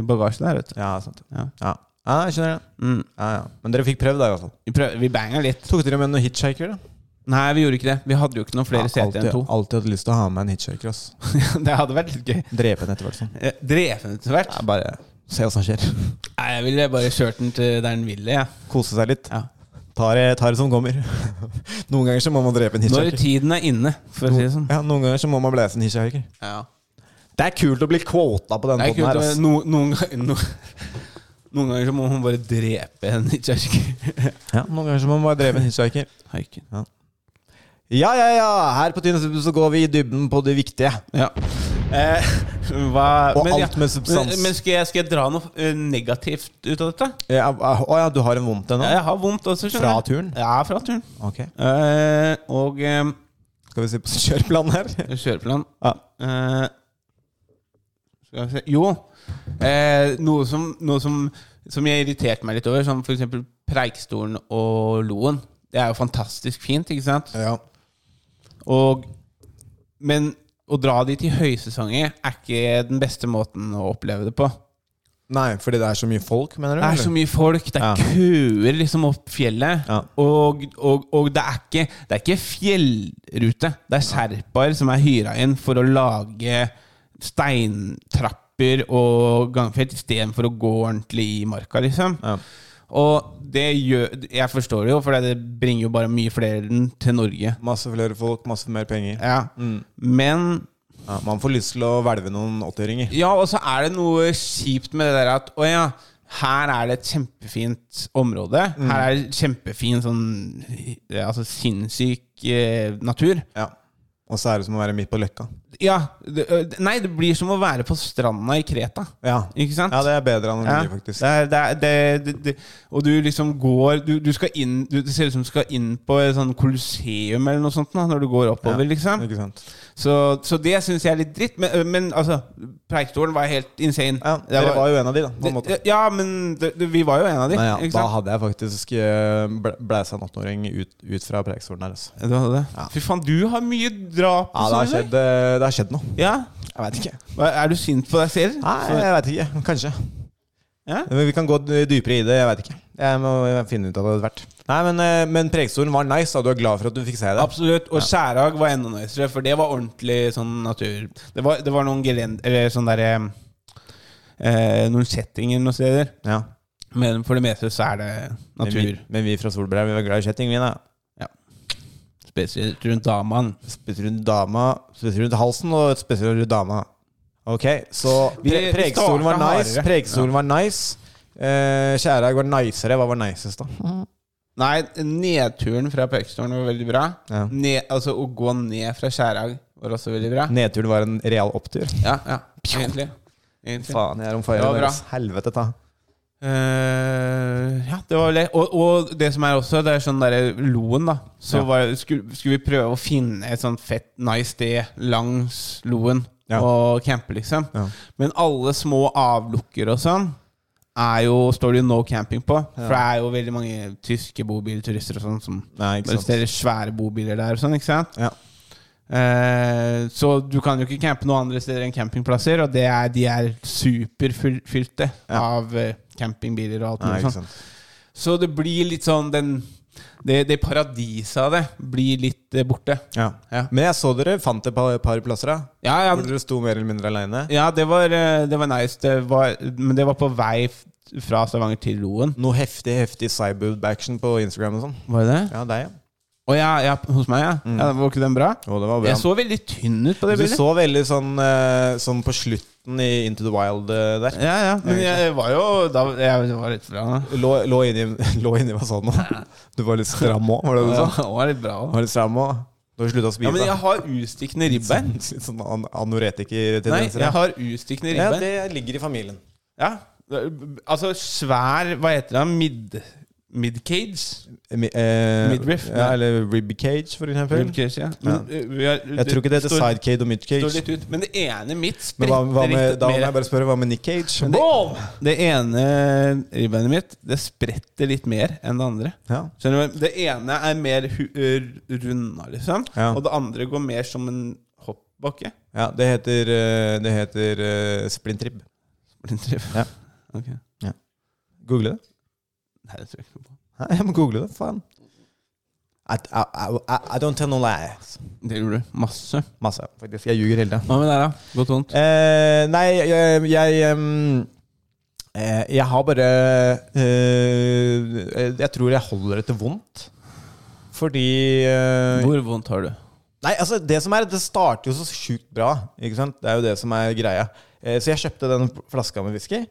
Speaker 2: bagasje der, vet du.
Speaker 3: Ja, sant.
Speaker 2: Ja.
Speaker 3: Ja. Ja, jeg skjønner det.
Speaker 2: Mm.
Speaker 3: Ja, ja. Men dere fikk prøvd, da, i hvert fall.
Speaker 2: Vi, prøv, vi banga litt.
Speaker 3: Tok dere med noen hitchhiker, da?
Speaker 2: Nei, vi gjorde ikke det. Vi hadde jo ikke noen flere
Speaker 3: Ja,
Speaker 2: seter enn
Speaker 3: alltid,
Speaker 2: to.
Speaker 3: alltid hatt lyst til å ha med en hitchhiker, ass.
Speaker 2: det hadde vært litt gøy.
Speaker 3: Drepe en etter hvert, sånn.
Speaker 2: Eh, Dreven etter hvert.
Speaker 3: Ja, bare se hva som skjer.
Speaker 2: Nei, jeg ville bare kjørt den til der den ville, jeg.
Speaker 3: Kose seg litt.
Speaker 2: Ja.
Speaker 3: Ta det, ta det som kommer. Noen ganger så må man drepe en
Speaker 2: Når
Speaker 3: hitchhiker.
Speaker 2: tiden er inne, for å si det sånn.
Speaker 3: Ja, noen ganger så må man blæse en hitchhiker.
Speaker 2: Ja.
Speaker 3: Det er kult å bli quota på
Speaker 2: Det
Speaker 3: denne
Speaker 2: er
Speaker 3: poden
Speaker 2: kult.
Speaker 3: her,
Speaker 2: å-
Speaker 3: ass.
Speaker 2: No, noen, ganger- no, noen ganger så må hun bare drepe en i kirken.
Speaker 3: Ja, noen ganger så må man bare drepe en hitchhiker.
Speaker 2: Haiken.
Speaker 3: Ja, ja, ja! Her på Tynnes så går vi i dybden på det viktige.
Speaker 2: Ja. Eh, hva,
Speaker 3: Og
Speaker 2: ja,
Speaker 3: alt med substans.
Speaker 2: Men, men skal, jeg, skal jeg dra noe eh, negativt ut av dette?
Speaker 3: Ja, Å ja, du har en vondt
Speaker 2: Ja,
Speaker 3: ennå?
Speaker 2: jeg har vondt også. skjønner
Speaker 3: Fra
Speaker 2: jeg.
Speaker 3: turen?
Speaker 2: Ja, fra turen.
Speaker 3: Ok.
Speaker 2: Eh, og eh,
Speaker 3: Skal vi se på kjøreplanen her?
Speaker 2: kjøreplan
Speaker 3: Ja.
Speaker 2: Eh, skal vi se Jo, eh, noe, som, noe som, som jeg irriterte meg litt over, som f.eks. Preikestolen og Loen. Det er jo fantastisk fint, ikke sant? Og, men å dra dit i høysesonger er ikke den beste måten å oppleve det på.
Speaker 3: Nei, fordi det er så mye folk, mener du?
Speaker 2: Det er så mye folk, det
Speaker 3: Ja.
Speaker 2: er køer liksom opp fjellet.
Speaker 3: Ja.
Speaker 2: Og, og, og det, er ikke, det er ikke fjellrute. Det er sherpaer som er hyra inn for å lage steintrapper og gangfelt istedenfor å gå ordentlig i marka, liksom.
Speaker 3: Ja.
Speaker 2: Og det gjør Jeg forstår det jo, for det bringer jo bare mye flere til Norge.
Speaker 3: Masse flere folk, masse mer penger.
Speaker 2: Ja.
Speaker 3: Mm.
Speaker 2: Men
Speaker 3: Ja, man får lyst til å hvelve noen 80-åringer.
Speaker 2: Ja, og så er det noe kjipt med det der at Å ja, her er det et kjempefint område.
Speaker 3: Mm.
Speaker 2: Her er det kjempefin sånn eh, Altså sinnssyk eh, natur.
Speaker 3: Ja. Og så er det som å være midt på løkka.
Speaker 2: Ja. Det, ø, nei, det blir som å være på stranda i Kreta.
Speaker 3: Ja,
Speaker 2: Ikke sant?
Speaker 3: ja det er bedre
Speaker 2: Ja,
Speaker 3: analogi,
Speaker 2: det
Speaker 3: faktisk.
Speaker 2: er, det er, det, det, det, og du liksom går du, du skal inn du, Det ser ut som du skal inn på et sånn kolosseum eller noe sånt da, når du går oppover. liksom
Speaker 3: Ikke sant?
Speaker 2: Så, så det syns jeg er litt dritt. Men, men altså, Preikestolen var helt insane.
Speaker 3: Ja,
Speaker 2: Det
Speaker 3: dere var jo en av de, da. På en måte.
Speaker 2: Det, ja, men det, det, vi var jo en av de.
Speaker 3: Nei, ja,
Speaker 2: ikke
Speaker 3: da
Speaker 2: sant?
Speaker 3: hadde jeg faktisk eh, blæ- blæsa en 18-åring ut, ut fra Preikestolen her. Altså.
Speaker 2: Du hadde det? Fy faen, du har mye drap.
Speaker 3: Ja,
Speaker 2: og
Speaker 3: det har,
Speaker 2: sånn, eller?
Speaker 3: skjedd, eh, det har skjedd noe.
Speaker 2: Ja?
Speaker 3: Jeg veit ikke.
Speaker 2: Hva, Er du sint på deg selv?
Speaker 3: Nei, jeg vet ikke. Kanskje.
Speaker 2: Ja?
Speaker 3: Men Vi kan gå d- dypere i det. Jeg veit ikke. Jeg må finne ut av det etter hvert. Nei, men, eh, men Preikestolen var nice, da. Du er glad for at du fikk se det?
Speaker 2: Absolutt. Og Skjærag var enda nicere, for det var ordentlig sånn natur... Det var, det var noen gelend... Eller sånn derre eh, Noen kjettinger noen steder.
Speaker 3: Ja.
Speaker 2: Men for det meste så er det
Speaker 3: Men
Speaker 2: natur.
Speaker 3: vi, men vi fra Solberg vi var glad i kjetting, vi, da.
Speaker 2: Spesielt rundt Daman.
Speaker 3: Spesielt rundt dama, spesielt rundt halsen og spesielt rundt dama. Ok, så
Speaker 2: Vi-
Speaker 3: pre
Speaker 2: vi
Speaker 3: Preikestolen var
Speaker 2: starta
Speaker 3: nice.
Speaker 2: hardere.
Speaker 3: Preikestolen var nice. Eh, Kjærhaug var nicere. Hva var nicest, da?
Speaker 2: Nei, nedturen fra Preikestolen var veldig bra.
Speaker 3: Ja.
Speaker 2: Ned, altså å gå ned fra Skjærag var også veldig bra.
Speaker 3: Nedturen var en real opptur.
Speaker 2: Ja, ja. Egentlig. Egentlig.
Speaker 3: Faen, jeg er om
Speaker 2: Det var bra.
Speaker 3: fire. Helvete ta.
Speaker 2: Eh, ja, det var vel det. Og, og det som er også, det er sånn derre loen, da. Så
Speaker 3: Ja.
Speaker 2: var, skulle, skulle vi prøve å finne et sånt fett, nice sted langs loen
Speaker 3: Ja.
Speaker 2: og campe, liksom.
Speaker 3: Ja.
Speaker 2: Men alle små avlukker og sånn er jo, står det jo no camping på. For det er jo veldig mange tyske bobilturister og sånn som
Speaker 3: Nei, ikke sant.
Speaker 2: arresterer svære bobiler der og sånn, ikke sant?
Speaker 3: Ja.
Speaker 2: Eh, så du kan jo ikke campe noen andre steder enn campingplasser, og det er, de er superfylte
Speaker 3: Ja.
Speaker 2: av eh, campingbiler og alt
Speaker 3: Nei,
Speaker 2: mulig
Speaker 3: ikke
Speaker 2: sånt.
Speaker 3: sant.
Speaker 2: Så det blir litt sånn den Det, det paradiset av det blir litt eh, borte.
Speaker 3: Ja.
Speaker 2: Ja.
Speaker 3: Men jeg så dere fant et par, par plasser, da.
Speaker 2: Ja, ja,
Speaker 3: Hvor dere sto mer eller mindre aleine.
Speaker 2: ja det, var, eh, det var nice, det var, men det var på vei f- fra Stavanger til Loen.
Speaker 3: Noe heftig heftig cyberbaction på Instagram og sånn.
Speaker 2: Var det det?
Speaker 3: Ja, deg, ja.
Speaker 2: Å ja, ja, hos meg, ja. ja. Var ikke den bra?
Speaker 3: Mm. Å, det var bra.
Speaker 2: Jeg så veldig tynn ut på det
Speaker 3: du
Speaker 2: bildet.
Speaker 3: så veldig sånn, eh, sånn på slutten i Into the Wild eh, der.
Speaker 2: Ja, ja, men jeg var jo da, Jeg var litt bra. da.
Speaker 3: Lå, lå, inni, lå inni fasaden nå. Du var litt stram òg, var det du
Speaker 2: Ja,
Speaker 3: sa?
Speaker 2: jeg var litt bra da.
Speaker 3: Du var litt stram også. Du har slutta å
Speaker 2: Ja,
Speaker 3: spise.
Speaker 2: men
Speaker 3: da.
Speaker 2: jeg har utstikkende ribbein.
Speaker 3: Litt sånn an
Speaker 2: Nei,
Speaker 3: anoretikertendenser.
Speaker 2: jeg har utstikkende
Speaker 3: ja,
Speaker 2: ribbein.
Speaker 3: det ligger i familien.
Speaker 2: Ja, Altså svær Hva heter det? Mid... Midcage?
Speaker 3: Mi- eh,
Speaker 2: Midriff,
Speaker 3: Ja,
Speaker 2: nei.
Speaker 3: eller rib cage, for eksempel.
Speaker 2: Midcage, ja. Men, eh, vi har-
Speaker 3: Jeg tror ikke det heter
Speaker 2: står-
Speaker 3: side cage og mid
Speaker 2: står
Speaker 3: cage.
Speaker 2: litt ut. Men det ene mitt
Speaker 3: Men hva,
Speaker 2: spretter
Speaker 3: hva med,
Speaker 2: litt
Speaker 3: da må
Speaker 2: mer.
Speaker 3: jeg bare spørre, hva med Nick Cage?
Speaker 2: Men det- Det ene ribbeinet mitt Det spretter litt mer enn det andre.
Speaker 3: Ja.
Speaker 2: Skjønner du? Det ene er mer hu- r- runda, liksom.
Speaker 3: Ja.
Speaker 2: Og det andre går mer som en hoppbakke.
Speaker 3: ja, det heter, eh, det heter eh, splint rib.
Speaker 2: Splintrib.
Speaker 3: Ja.
Speaker 2: Ok.
Speaker 3: Google det.
Speaker 2: Nei, det tror jeg ikke noe på.
Speaker 3: Hæ? Jeg må google det, faen. I, I, I, I don't tell no lies.
Speaker 2: Det gjorde du. Masse.
Speaker 3: Masse, faktisk. Jeg ljuger hele tida.
Speaker 2: Hva med deg, da? Godt vondt?
Speaker 3: Eh, nei, jeg jeg, em, eh, jeg har bare eh, Jeg tror jeg holder det til vondt. Fordi eh,
Speaker 2: Hvor vondt har du?
Speaker 3: Nei, altså det som er Det starter jo så sjukt bra. Ikke sant? Det er jo det som er greia. Eh, Så jeg kjøpte den flaska med whisky.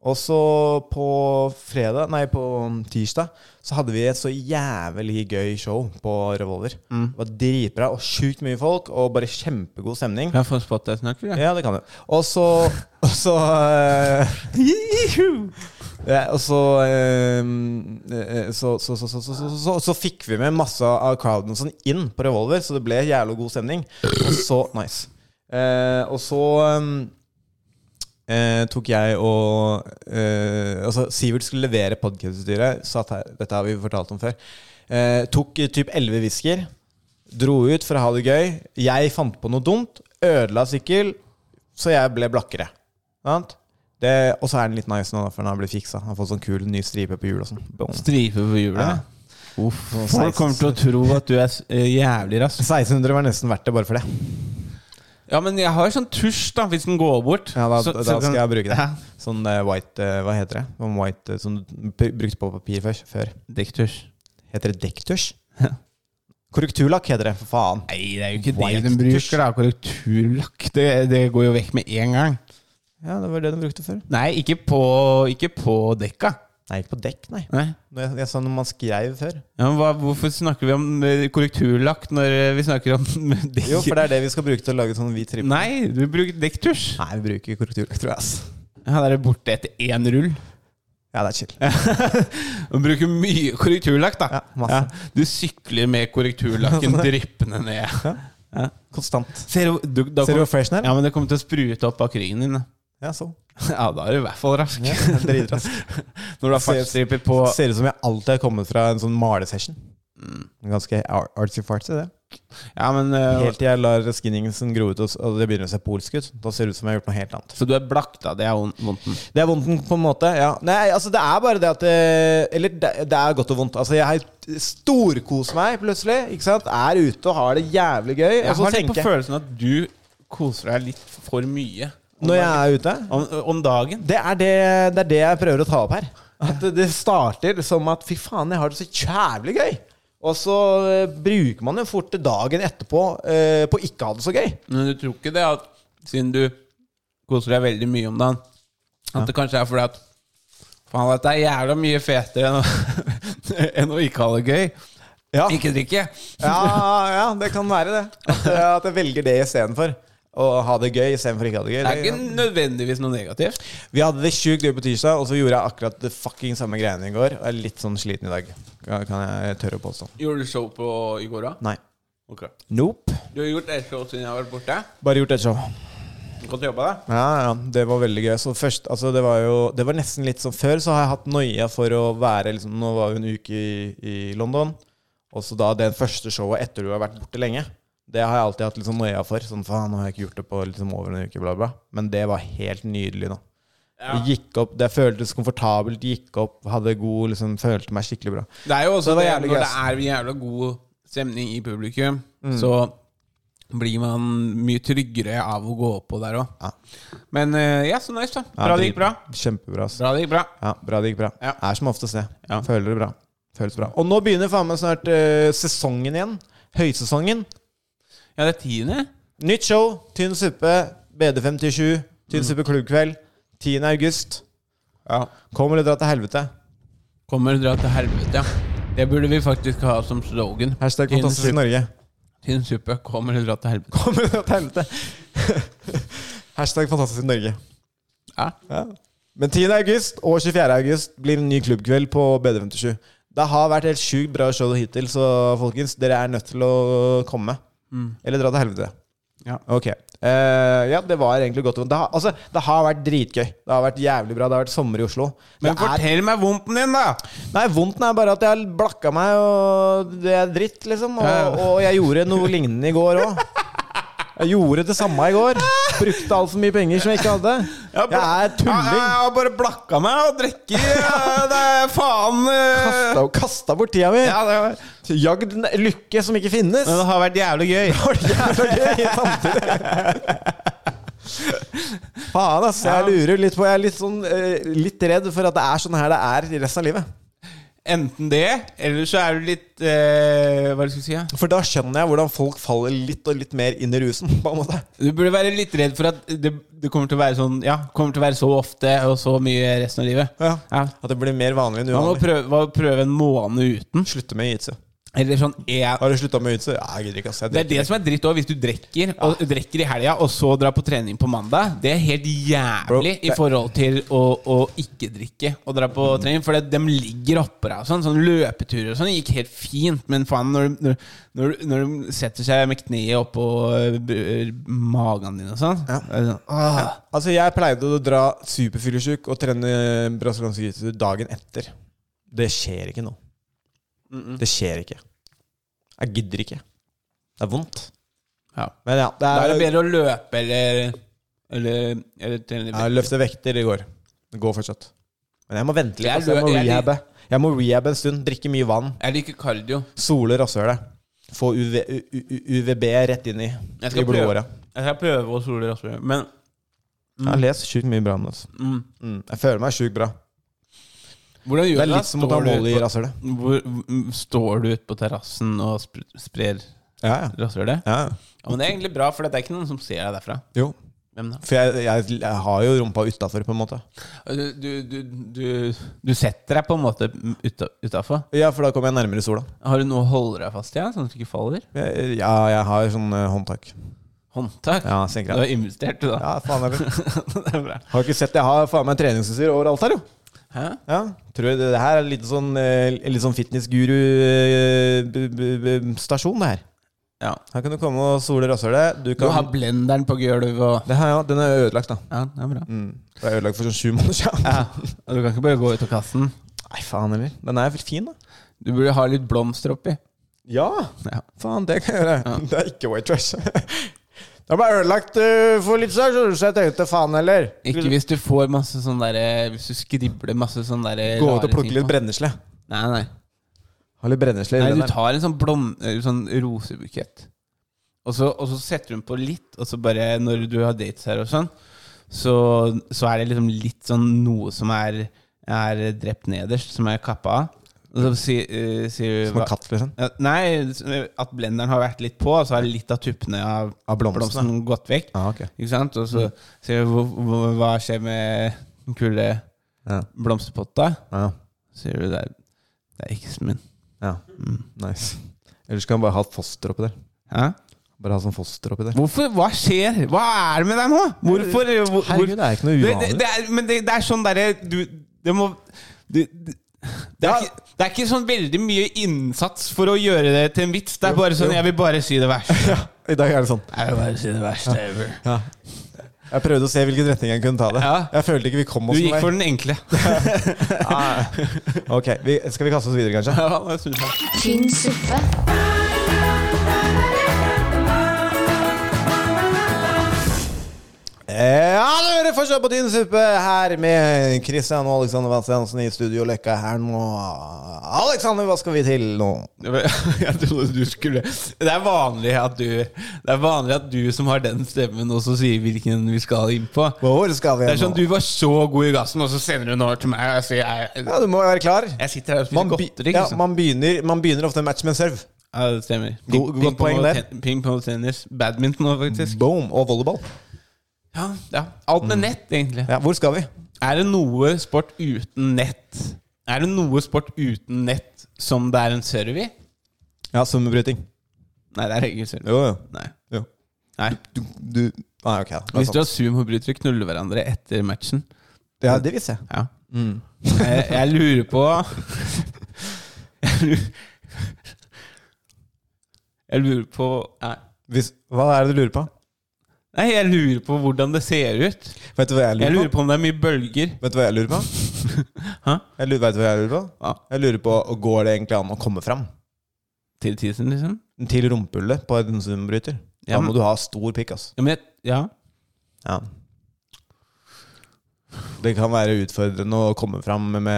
Speaker 3: Og så på fredag, nei på tirsdag så hadde vi et så jævlig gøy show på Revolver. Det var dritbra og sjukt mye folk og bare kjempegod stemning.
Speaker 2: Kan jeg få en spot deg snart? eller?
Speaker 3: Ja, det kan du. Og så Og så eh, ja, Og så, eh, eh, så, så, så, så, så, så, så, så Så fikk vi med masse av crowden sånn inn på Revolver, så det ble jævlig god stemning. Og så Nice. Eh, og så eh, eh, tok jeg og eh, Altså, Sivert skulle levere podkastutstyret. Satt her, dette har vi fortalt om før. Eh, tok eh, typ elleve whiskyer. Dro ut for å ha det gøy. Jeg fant på noe dumt. Ødela sykkel, så jeg ble blakkere. Sant? Det, og så er den litt nice nå, da, for den har blitt fiksa. Han har fått sånn kul ny stripe på hjulet. og sånn. Boom.
Speaker 2: Stripe på hjulet?
Speaker 3: Ja.
Speaker 2: Uff,
Speaker 3: Sånn
Speaker 2: folk
Speaker 3: 16.
Speaker 2: kommer til å tro at du er s- eh, jævlig rask.
Speaker 3: 1600 var nesten verdt det, bare for det.
Speaker 2: Ja, men jeg har sånn tusj, da, hvis den går bort.
Speaker 3: Ja, da,
Speaker 2: Så-
Speaker 3: da
Speaker 2: så kan-
Speaker 3: skal jeg bruke det.
Speaker 2: Ja.
Speaker 3: Sånn eh, white eh, Hva heter det? Sånn white, eh, som du br- brukte på papir før. før.
Speaker 2: Dekktusj.
Speaker 3: Heter det dekktusj?
Speaker 2: Ja.
Speaker 3: Korrekturlakk heter det, for faen.
Speaker 2: Nei, det er jo ikke
Speaker 3: White
Speaker 2: det den bruker, da. Korrekturlakk. Det, det går jo vekk med en gang.
Speaker 3: Ja, det var det du brukte før.
Speaker 2: Nei, ikke på, ikke på dekka.
Speaker 3: Nei, ikke på dekk, nei.
Speaker 2: Nei.
Speaker 3: Når jeg, jeg sa når man skrev før.
Speaker 2: Ja, men hva, hvorfor snakker vi om eh, korrekturlakk når eh, vi snakker om dekk?
Speaker 3: Jo, for det er det vi skal bruke til å lage sånn hvit tripp.
Speaker 2: Nei, du bruker dekktusj.
Speaker 3: Nei, vi bruker korrekturlakk, tror jeg. ass.
Speaker 2: Ja, der er det borte etter én rull.
Speaker 3: Ja, det er chill.
Speaker 2: Du bruker mye korrekturlakk, da.
Speaker 3: Ja, masse.
Speaker 2: Du sykler med korrekturlakken dryppende ned.
Speaker 3: Konstant.
Speaker 2: Ser du, du, da
Speaker 3: Ser du
Speaker 2: kom,
Speaker 3: hvor fresh den er?
Speaker 2: ja, men det kommer til å sprute opp av krigen din. da.
Speaker 3: Ja, så.
Speaker 2: Ja, da er du i hvert fall rask.
Speaker 3: Ja, Dritrask.
Speaker 2: Når du har
Speaker 3: Ser-
Speaker 2: fartsstriper på
Speaker 3: Ser ut som jeg alltid har kommet fra en sånn malesession. Mm. Ganske ar- artsy-fartsy, det.
Speaker 2: Ja, men eh,
Speaker 3: Helt til jeg lar skinningsen gro ut, og s- og det begynner å se polsk ut. Da ser det ut som jeg har gjort noe helt annet.
Speaker 2: Så du er blakk, da. Det er on- vondten.
Speaker 3: Det er vondten på en måte, ja. Nei, altså det er bare det at eh, Eller det, det er godt og vondt. Altså jeg har storkost meg plutselig. Ikke sant? Er ute og har det jævlig gøy.
Speaker 2: Jeg
Speaker 3: Og så
Speaker 2: har litt på
Speaker 3: tenker jeg
Speaker 2: følelsen at du koser deg litt for mye om,
Speaker 3: Når jeg er ute
Speaker 2: om, om dagen.
Speaker 3: det er det, det er det jeg prøver å ta opp her. At det starter som at fy faen, jeg har det så jævlig gøy. Og så eh, bruker man jo fort dagen etterpå eh, på ikke å ha det så gøy.
Speaker 2: Men du tror ikke det at siden du koser deg veldig mye om dagen, at det kanskje er fordi at Faen, dette er jævla mye fetere enn å, enn å ikke ha det gøy.
Speaker 3: Ja,
Speaker 2: Ikke drikke.
Speaker 3: ja, ja det kan være det. At, eh, at jeg velger det istedenfor. Å ha det gøy istedenfor ikke ha det gøy.
Speaker 2: Det er
Speaker 3: Det-
Speaker 2: ikke nødvendigvis noe negativt.
Speaker 3: Vi hadde det sjukt gøy på tirsdag, og så gjorde jeg akkurat det fucking samme greiene i går. Og jeg er litt sånn sliten i dag, kan kan jeg tørre å påstå.
Speaker 2: Gjorde du show på i går, da?
Speaker 3: Nei.
Speaker 2: Ok.
Speaker 3: Nope.
Speaker 2: Du har gjort ett show siden jeg har vært borte.
Speaker 3: Bare gjort et show.
Speaker 2: Godt jobba, da.
Speaker 3: Ja, ja, det var veldig gøy. Så først, altså det var jo Det var nesten litt sånn Før så har jeg hatt noia for å være liksom Nå var jo en uke i, i London, og så da det første showet etter du har vært borte lenge. Det har jeg alltid hatt litt sånn noia for. Sånn faen, nå har jeg ikke gjort det på liksom over en uke, bla, bla. Men det var helt nydelig nå. Det Gikk opp, det føltes komfortabelt, gikk opp, hadde god liksom Følte meg skikkelig bra.
Speaker 2: Det er jo også
Speaker 3: Så det var
Speaker 2: det,
Speaker 3: jævlig
Speaker 2: når
Speaker 3: gøy,
Speaker 2: det er jævla god stemning i publikum, så blir man mye tryggere av å gå oppå der òg.
Speaker 3: Ja.
Speaker 2: Men eh, ja, så nice, da.
Speaker 3: Ja,
Speaker 2: Bra det gikk bra.
Speaker 3: Kjempebra. ass.
Speaker 2: Bra det gikk bra.
Speaker 3: Ja, bra det gikk bra.
Speaker 2: Ja.
Speaker 3: Er som oftest det.
Speaker 2: Ja.
Speaker 3: Føler det bra. Føles bra. Og nå begynner faen meg snart eh, sesongen igjen. Høysesongen.
Speaker 2: Ja, det er tiende.
Speaker 3: Nytt show. Tynn suppe. BD57. Tynn suppe klubbkveld. 10. august.
Speaker 2: Mm. Ja.
Speaker 3: Kom eller dra til helvete.
Speaker 2: Kommer dra til helvete. Det burde vi faktisk ha som slogan.
Speaker 3: Hashtag
Speaker 2: Tynn
Speaker 3: Fantastisk
Speaker 2: suppe-
Speaker 3: Norge.
Speaker 2: Tynn suppe. Kommer dra til helvete.
Speaker 3: Kom eller dra til helvete. Hashtag Fantastisk Norge.
Speaker 2: Ja.
Speaker 3: Ja. Men 10. august og 24. august blir en ny klubbkveld på BD57. Det har vært helt sjukt bra show hittil, så folkens, dere er nødt til å komme. Eller dra til helvete.
Speaker 2: Mm. Ja.
Speaker 3: Ok. Eh, ja, det var egentlig godt. Det har, altså, det har vært dritgøy. Det har vært jævlig bra. Det har vært sommer i Oslo.
Speaker 2: Men
Speaker 3: det er,
Speaker 2: fortell meg vondten din, da!
Speaker 3: nei, vondten er bare at jeg har blakka meg, og det er dritt, liksom. Og,
Speaker 2: Ja, ja.
Speaker 3: og jeg gjorde noe lignende i går òg. Jeg gjorde det samme i går. brukte altfor mye penger som jeg ikke hadde.
Speaker 2: Jeg
Speaker 3: Jeg er tulling.
Speaker 2: har bare blakka meg og drikker. Ja, det er faen eh.
Speaker 3: Kasta, kasta bort tida mi.
Speaker 2: ja, det, var-
Speaker 3: Jagd en lykke som ikke finnes.
Speaker 2: Men det har vært jævlig gøy.
Speaker 3: var det jævla gøy samtidig. Faen, ass. Jeg lurer litt på Jeg er litt, sånn, eh, litt redd for at det er sånn her det er i resten av livet.
Speaker 2: Enten det, eller så er du litt eh, Hva er det jeg skulle si? Ja?
Speaker 3: For da skjønner jeg hvordan folk faller litt og litt mer inn i rusen. På en måte
Speaker 2: Du burde være litt redd for at det, det kommer til å være sånn Ja, kommer til å være så ofte og så mye resten av livet.
Speaker 3: Ja.
Speaker 2: Ja.
Speaker 3: At det blir mer vanlig enn
Speaker 2: Man må
Speaker 3: uvanlig.
Speaker 2: prøve, må prøve en måned uten.
Speaker 3: Slutte med jiu-jitsu.
Speaker 2: Eller sånn en,
Speaker 3: Har du slutta med jiu-jitsu? Ja, jeg gidder ikke, ass. Jeg
Speaker 2: Det er
Speaker 3: drikker
Speaker 2: det som er dritt òg, hvis du drikker Og drikker i helga og så drar på trening på mandag. Det er helt
Speaker 3: Bro,
Speaker 2: jævlig i
Speaker 3: det-
Speaker 2: forhold til å, å ikke drikke og dra på trening. For det, dem ligger oppå deg og sånn. Sånn løpeturer og sånn gikk helt fint, men faen, når, du- når, når, du- når de setter seg med kneet oppå øh, b- magen din og sånn er det sånn, Åh.
Speaker 3: Altså, jeg pleide å dra superfyllesyk og trene brasiliansk jiu-jitsu dagen etter. Det skjer ikke nå. Det skjer ikke. Jeg gidder ikke. Det er vondt.
Speaker 2: Ja.
Speaker 3: Men ja, det
Speaker 2: Da er
Speaker 3: er,
Speaker 2: det bedre å løpe eller Eller, eller trene
Speaker 3: Jeg løftet vekter i går. Det går fortsatt. Men jeg må vente litt.
Speaker 2: Jeg
Speaker 3: Altså. Jeg må
Speaker 2: lø- jeg lik-
Speaker 3: rehabbe. Jeg må rehabbe en stund. Drikke mye vann.
Speaker 2: Jeg liker cardio.
Speaker 3: Sole rasshølet. Få UV, U- U- UVB rett inn i,
Speaker 2: Jeg
Speaker 3: i
Speaker 2: skal prøve,
Speaker 3: blodåra.
Speaker 2: jeg skal prøve å sole raskere. Men
Speaker 3: Jeg har lest sjukt mye bra om det. Altså.
Speaker 2: mm,
Speaker 3: Mm. Jeg føler meg sjukt bra.
Speaker 2: hvordan gjør
Speaker 3: Det
Speaker 2: du
Speaker 3: er
Speaker 2: da?
Speaker 3: litt som å ta
Speaker 2: Står du
Speaker 3: mål i
Speaker 2: på-
Speaker 3: rasshølet.
Speaker 2: Hvor, m- står du ute på terrassen og sp sprer
Speaker 3: Ja, ja.
Speaker 2: rasshølet?
Speaker 3: ja.
Speaker 2: Ja, men det er egentlig bra, for det er ikke noen som ser deg derfra.
Speaker 3: Jo.
Speaker 2: Hvem da?
Speaker 3: For jeg, jeg, jeg har jo rumpa utafor, på en måte.
Speaker 2: Du, du, du, du, du setter deg på en måte uta- utafor.
Speaker 3: Ja, for da kommer jeg nærmere sola.
Speaker 2: Har du noe å holde deg fast i, ja, sånn at du ikke faller?
Speaker 3: Jeg- Ja, jeg har sånn eh, håndtak.
Speaker 2: Håndtak?
Speaker 3: Ja, senker
Speaker 2: Du har
Speaker 3: jeg.
Speaker 2: investert, du, da.
Speaker 3: Ja, faen heller.
Speaker 2: det er bra.
Speaker 3: Har ikke sett Jeg har faen meg treningsutstyr overalt her, jo.
Speaker 2: Hæ?
Speaker 3: Ja, tror jeg det, det her er litt sånn, eh, litt sånn eh, fitnessguru-stasjon, det her.
Speaker 2: Ja.
Speaker 3: Her kan du komme og sole rasshølet. Du
Speaker 2: Du
Speaker 3: kan
Speaker 2: har blenderen på gulvet og
Speaker 3: det her, ja, Den er ødelagt, da.
Speaker 2: Ja, det er bra.
Speaker 3: Mm. Den er ødelagt for sånn sju måneder siden.
Speaker 2: Ja. Og du kan ikke bare gå ut av kassen.
Speaker 3: Nei, faen heller. Den er vel fin, da.
Speaker 2: Du burde ha litt blomster oppi.
Speaker 3: Ja!
Speaker 2: Ja.
Speaker 3: Faen, det kan jeg gjøre. Det er ikke white trash. Den ble ødelagt eh, for litt siden, så jeg tenkte faen heller.
Speaker 2: Ikke hvis du får masse sånn derre Hvis du skribler masse sånn derre
Speaker 3: Gå ut og
Speaker 2: rare
Speaker 3: plukke
Speaker 2: ting
Speaker 3: litt
Speaker 2: på.
Speaker 3: brennesle.
Speaker 2: Nei, nei.
Speaker 3: Ha litt brennesle i
Speaker 2: nei
Speaker 3: den
Speaker 2: du
Speaker 3: der.
Speaker 2: tar en sånn, blom, eh, sånn rosebukett, og så, og så setter du den på litt, og så bare når du har dates her og sånn, så, så er det liksom litt sånn noe som er, er drept nederst, som er kappa av. Og så sier, eh, sier du
Speaker 3: Som
Speaker 2: hva-
Speaker 3: en katt, liksom.
Speaker 2: Ja, Nei, at blenderen har vært litt på, og så har litt av tuppene av
Speaker 3: Av blomsten,
Speaker 2: blomsten gått vekk.
Speaker 3: Ah, ok.
Speaker 2: Ikke sant? Og så ser vi hvor- hvor- hva skjer med den kule
Speaker 3: Ja.
Speaker 2: blomsterpotta.
Speaker 3: Ja.
Speaker 2: Så sier du der Det er eksen min.
Speaker 3: ja.
Speaker 2: Mm.
Speaker 3: Nice. Ellers kan han bare ha et foster oppi der.
Speaker 2: Hæ?
Speaker 3: Bare ha sånn foster oppi der.
Speaker 2: Hvorfor? Hva skjer? Hva er det med deg nå? Hvorfor? eh, hvor- hvor-
Speaker 3: Herregud, det er ikke noe
Speaker 2: det, det,
Speaker 3: uvanlig.
Speaker 2: det er, men det, det er sånn derre Du Det må du, du, det, er
Speaker 3: Ja.
Speaker 2: ikke, det er ikke sånn veldig mye innsats for å gjøre det til en vits. Det er bare sånn
Speaker 3: jo.
Speaker 2: 'Jeg vil bare si det verste'.
Speaker 3: I dag er det sånn.
Speaker 2: Jeg vil bare si det verste ever.
Speaker 3: Jeg prøvde å se hvilken retning jeg kunne ta det.
Speaker 2: Ja.
Speaker 3: Jeg følte ikke vi kom
Speaker 2: Du
Speaker 3: oss
Speaker 2: gikk
Speaker 3: noen
Speaker 2: for den enkle.
Speaker 3: vei. Ah. Ok, vi, Skal vi kaste oss videre, kanskje?
Speaker 2: Ja, det synes jeg.
Speaker 1: Tynn suppe.
Speaker 3: Ja, dere får kjøpe din suppe her med Christian og Alexander Vastiansen i Studio Løkka her nå. Alexander, hva skal vi til nå?
Speaker 2: Jeg trodde du skulle Det er vanlig at du Det er vanlig at du som har den stemmen, også sier hvilken vi skal inn på.
Speaker 3: Hvor skal vi
Speaker 2: Det er
Speaker 3: nå?
Speaker 2: sånn Du var så god i gassen, og så sender du den over til meg. Og jeg, sier, jeg,
Speaker 3: Ja, du må jo være klar.
Speaker 2: jeg sitter her og spiser
Speaker 3: Man, be-
Speaker 2: godteri.
Speaker 3: ja,
Speaker 2: liksom.
Speaker 3: man, begynner, man begynner ofte en match med en serve.
Speaker 2: Ja, det stemmer.
Speaker 3: God- godt
Speaker 2: ping-
Speaker 3: poeng
Speaker 2: pong og
Speaker 3: der.
Speaker 2: ten- Pingpong og tennis. Badminton òg, faktisk.
Speaker 3: Boom. Og volleyball.
Speaker 2: Ja, ja. Alt med nett, egentlig.
Speaker 3: Mm. Ja, hvor skal vi?
Speaker 2: Er det noe sport uten nett? Er det noe sport uten nett som det er en serve i?
Speaker 3: Ja, svømmebryting.
Speaker 2: Nei, det er ingen serve.
Speaker 3: Jo, jo.
Speaker 2: Nei.
Speaker 3: jo.
Speaker 2: Nei.
Speaker 3: Du, du Nei, ok. Det, er
Speaker 2: Hvis du
Speaker 3: sant.
Speaker 2: har sumobrytere, knuller hverandre etter matchen.
Speaker 3: ja, det visste jeg.
Speaker 2: Ja. Mm. Jeg, jeg lurer på Jeg lurer, jeg lurer på nei.
Speaker 3: Hvis, hva er det du lurer på?
Speaker 2: nei, jeg lurer på hvordan det ser ut.
Speaker 3: Vet du hva jeg lurer,
Speaker 2: Jeg lurer
Speaker 3: på?
Speaker 2: på om det er mye bølger.
Speaker 3: Vet du hva jeg lurer på?
Speaker 2: Hæ?
Speaker 3: Jeg lurer, vet du hva jeg lurer på?
Speaker 2: Ja.
Speaker 3: Jeg lurer på Går det egentlig an å komme fram
Speaker 2: Til tisen, liksom.
Speaker 3: til rumpehullet på en sumbryter? Da
Speaker 2: Ja, men-
Speaker 3: må du ha stor pikk, ass.
Speaker 2: Ja, men jeg, ja.
Speaker 3: Ja. Det kan være utfordrende å komme fram med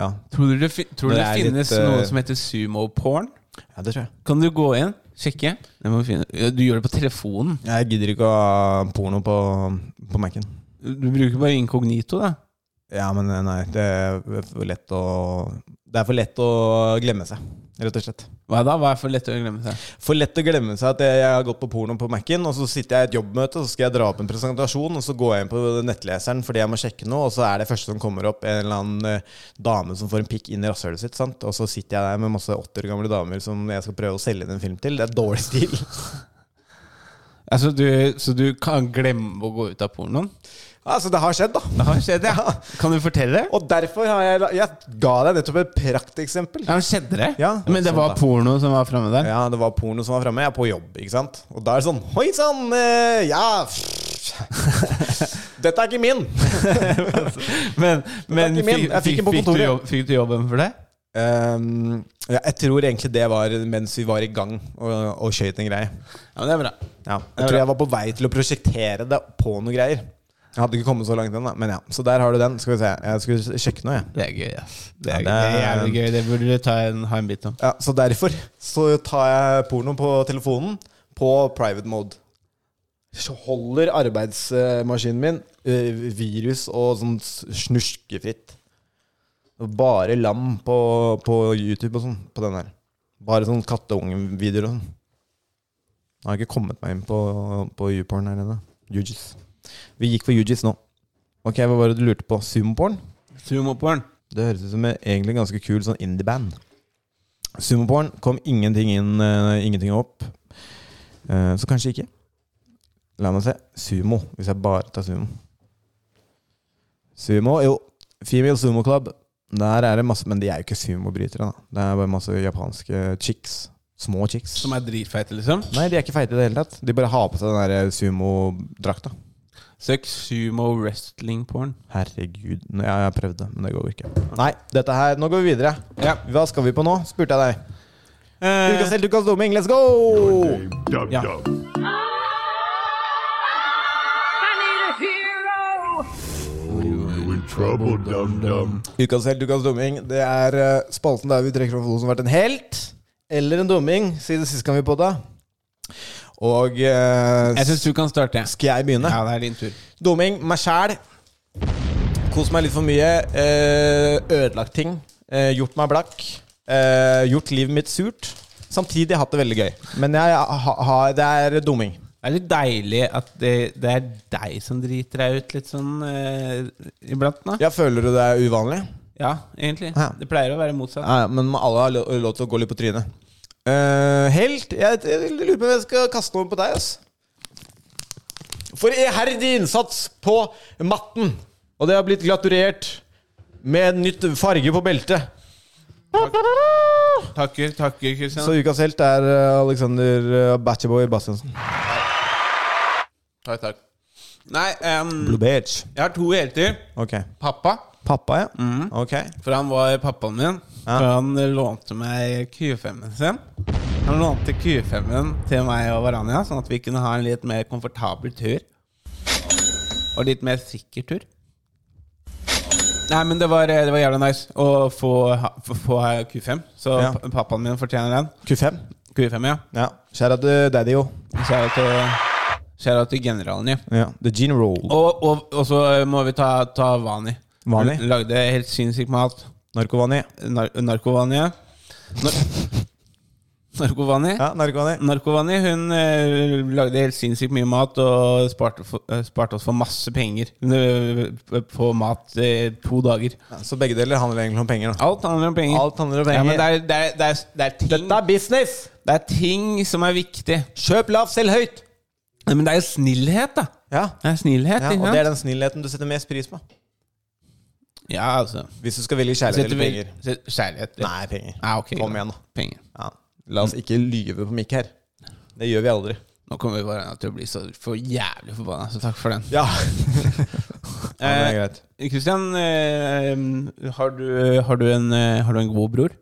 Speaker 3: ja.
Speaker 2: Tror du det, fi- tror du
Speaker 3: Det
Speaker 2: det,
Speaker 3: er litt,
Speaker 2: finnes
Speaker 3: eh,
Speaker 2: noe som heter sumo-porn?
Speaker 3: ja, det tror jeg.
Speaker 2: Kan du gå inn, sjekke? Det må vi finne. Ja, Du gjør det på telefonen.
Speaker 3: Jeg gidder ikke å ha porno på, på Mac-en.
Speaker 2: Du bruker bare inkognito, da.
Speaker 3: Ja, men eh, nei, det er for lett å Det er for lett å glemme seg, rett og slett.
Speaker 2: Hva da? Hva er for lett å glemme seg?
Speaker 3: For lett å glemme seg at jeg har gått på porno på Mac-en, og så sitter jeg i et jobbmøte, så skal jeg dra opp en presentasjon, og så går jeg inn på nettleseren fordi jeg må sjekke noe, og så er det første som kommer opp, en eller annen eh, dame som får en pikk inn i rasshølet sitt, sant? og så sitter jeg der med masse 80 år gamle damer som jeg skal prøve å selge inn en film til. Det er dårlig stil.
Speaker 2: Altså, du, så du kan glemme å gå ut av pornoen?
Speaker 3: Altså, det har skjedd, da.
Speaker 2: Det har skjedd, ja. Kan du fortelle det?
Speaker 3: Og derfor har jeg la- Jeg ga deg nettopp et prakteksempel.
Speaker 2: Ja, men skjedde det?
Speaker 3: Ja.
Speaker 2: Men det var porno som var framme der?
Speaker 3: Ja, det var porno som var framme. Jeg er på jobb, ikke sant. Og da er det sånn Oi sann! eh, Ja Dette er ikke min!
Speaker 2: Men, men
Speaker 3: Det var ikke min.
Speaker 2: fikk,
Speaker 3: Jeg fikk
Speaker 2: fikk,
Speaker 3: den på
Speaker 2: du
Speaker 3: kontoret.
Speaker 2: jobb, fikk du jobben for det?
Speaker 3: Ehm, ja, jeg tror egentlig det var mens vi var i gang og, og skøyt en greie.
Speaker 2: Ja, men det er bra. Det er
Speaker 3: Ja, jeg tror
Speaker 2: bra.
Speaker 3: jeg var på vei til å prosjektere det på noen greier. Jeg hadde ikke kommet så langt ennå, men ja. Så der har du den. Skal vi se. Jeg skulle sjekke noe, jeg.
Speaker 2: Det er gøy, ass. Det
Speaker 3: Ja,
Speaker 2: er, gøy.
Speaker 3: det
Speaker 2: det er
Speaker 3: er-
Speaker 2: jævlig gøy. Det burde du ta en, ha en bit om.
Speaker 3: Ja, så derfor så tar jeg porno på telefonen på private mode. Så holder arbeidsmaskinen min eh, virus og sånn s- snuskefritt. Og Bare lam på, på YouTube og sånn. På den her. Bare sånn katteungevideoer og sånn. Jeg har ikke kommet meg inn på, på YouPorn her ennå. Ugis. Vi gikk for Ugis nå. Ok, Hva var det du lurte på? Sumoporn?
Speaker 2: Sumoporn.
Speaker 3: Det høres ut som en egentlig ganske kul sånn indie-band. Sumoporn kom ingenting inn, eh, ingenting opp. Eh, så kanskje ikke. La meg se. Sumo, hvis jeg bare tar sumo. Sumo, jo. Female Sumo Club. Der er det masse, men de er jo ikke sumobrytere, da. Det er bare masse japanske chicks. Små chicks.
Speaker 2: Som er dritfeite, liksom.
Speaker 3: Nei, de er ikke feite i det hele tatt. De bare har på seg den der sumodrakta.
Speaker 2: Søk sumo wrestling porn.
Speaker 3: Herregud. Ja, jeg prøvde, men det går jo ikke. Nei, dette her Nå går vi videre.
Speaker 2: Ja.
Speaker 3: Hva skal vi på nå? spurte jeg deg.
Speaker 2: Eh,
Speaker 3: Ukas helt, ukas dumming, let's go!
Speaker 2: Ja.
Speaker 3: Ukas helt, ukas dumming. Det er eh, spalten der vi trekker opp noen som har vært en helt eller en dumming siden sist gang vi podda. Og eh,
Speaker 2: Jeg syns du kan starte.
Speaker 3: skal jeg begynne?
Speaker 2: Ja, det er din tur.
Speaker 3: Dumming meg sjæl. Kost meg litt for mye. Eh, ødelagt ting. Eh, gjort meg blakk. Eh, gjort livet mitt surt. Samtidig hatt det veldig gøy. Men jeg, ha, ha, det er dumming.
Speaker 2: Det er litt deilig at det, det er deg som driter deg ut litt sånn eh, iblant, da.
Speaker 3: Ja, Føler du det er uvanlig?
Speaker 2: Ja, egentlig.
Speaker 3: Ja.
Speaker 2: Det pleier å være motsatt.
Speaker 3: Ja, ja, men alle har lo- lov til å gå litt på trynet. Eh, helt jeg, jeg lurer på om jeg skal kaste over på deg. Ass. For iherdig innsats på matten. Og det har blitt glatturert med en nytt farge på beltet.
Speaker 2: Takker, takker, Kristian.
Speaker 3: Så ukas helt er eh, Alexander eh, Batchboy Bastiansen.
Speaker 2: Takk, takk. Nei, em,
Speaker 3: Blue Beach.
Speaker 2: jeg har to helter.
Speaker 3: Ok.
Speaker 2: Pappa.
Speaker 3: Pappa, ja.
Speaker 2: Mm.
Speaker 3: Ok.
Speaker 2: For han var pappaen min. For han lånte meg Q5-en sin. Han lånte Q5-en til meg og Varania, sånn at vi kunne ha en litt mer komfortabel tur. Og litt mer sikker tur. Nei, men det var, eh, det var jævla nice å få, ha- få- få ha Q5. Så
Speaker 3: Ja.
Speaker 2: pa- pappaen min fortjener den.
Speaker 3: Q5.
Speaker 2: Q5, ja.
Speaker 3: Ja. Kjære eh, til daddy, jo.
Speaker 2: Shout out til, shout out til generalen, ja.
Speaker 3: Ja. The Gene Roll.
Speaker 2: Og, og, og så må vi ta, ta Vani.
Speaker 3: Vani?
Speaker 2: Hun Lagde helt sinnssykt mat.
Speaker 3: Narkovani.
Speaker 2: Nar narkovani. Nar narkovani.
Speaker 3: Ja, narkovani.
Speaker 2: Narkovani hun eh, lagde helt sinnssykt mye mat og sparte, for, eh, sparte oss for masse penger eh, på mat eh, to dager.
Speaker 3: Ja, så begge deler handler egentlig om penger. da
Speaker 2: Alt handler om penger.
Speaker 3: Alt handler om penger.
Speaker 2: Ja, men det er, det, er, det, er, det, er ting,
Speaker 3: Dette er business!
Speaker 2: det er ting som er viktig.
Speaker 3: Kjøp lavt, selg høyt!
Speaker 2: Nei, Men det er jo snillhet, da.
Speaker 3: Ja.
Speaker 2: Det er snillhet,
Speaker 3: ja,
Speaker 2: ikke
Speaker 3: Og
Speaker 2: sant?
Speaker 3: det er den snillheten du setter mest pris på.
Speaker 2: Ja, altså.
Speaker 3: Hvis du skal velge kjærlighet
Speaker 2: Setter
Speaker 3: eller
Speaker 2: vi-
Speaker 3: penger.
Speaker 2: set- Kjærlighet. ja.
Speaker 3: Nei, penger.
Speaker 2: Ja, ok,
Speaker 3: Kom
Speaker 2: da.
Speaker 3: igjen, da.
Speaker 2: Penger.
Speaker 3: Ja. La oss ikke lyve på mikk her. Det gjør vi aldri.
Speaker 2: Nå kommer vi bare til å bli så for jævlig forbanna, så takk for den.
Speaker 3: Ja, det er greit.
Speaker 2: eh, Kristian, har, du, har, du eh, en, eh, har du en god bror?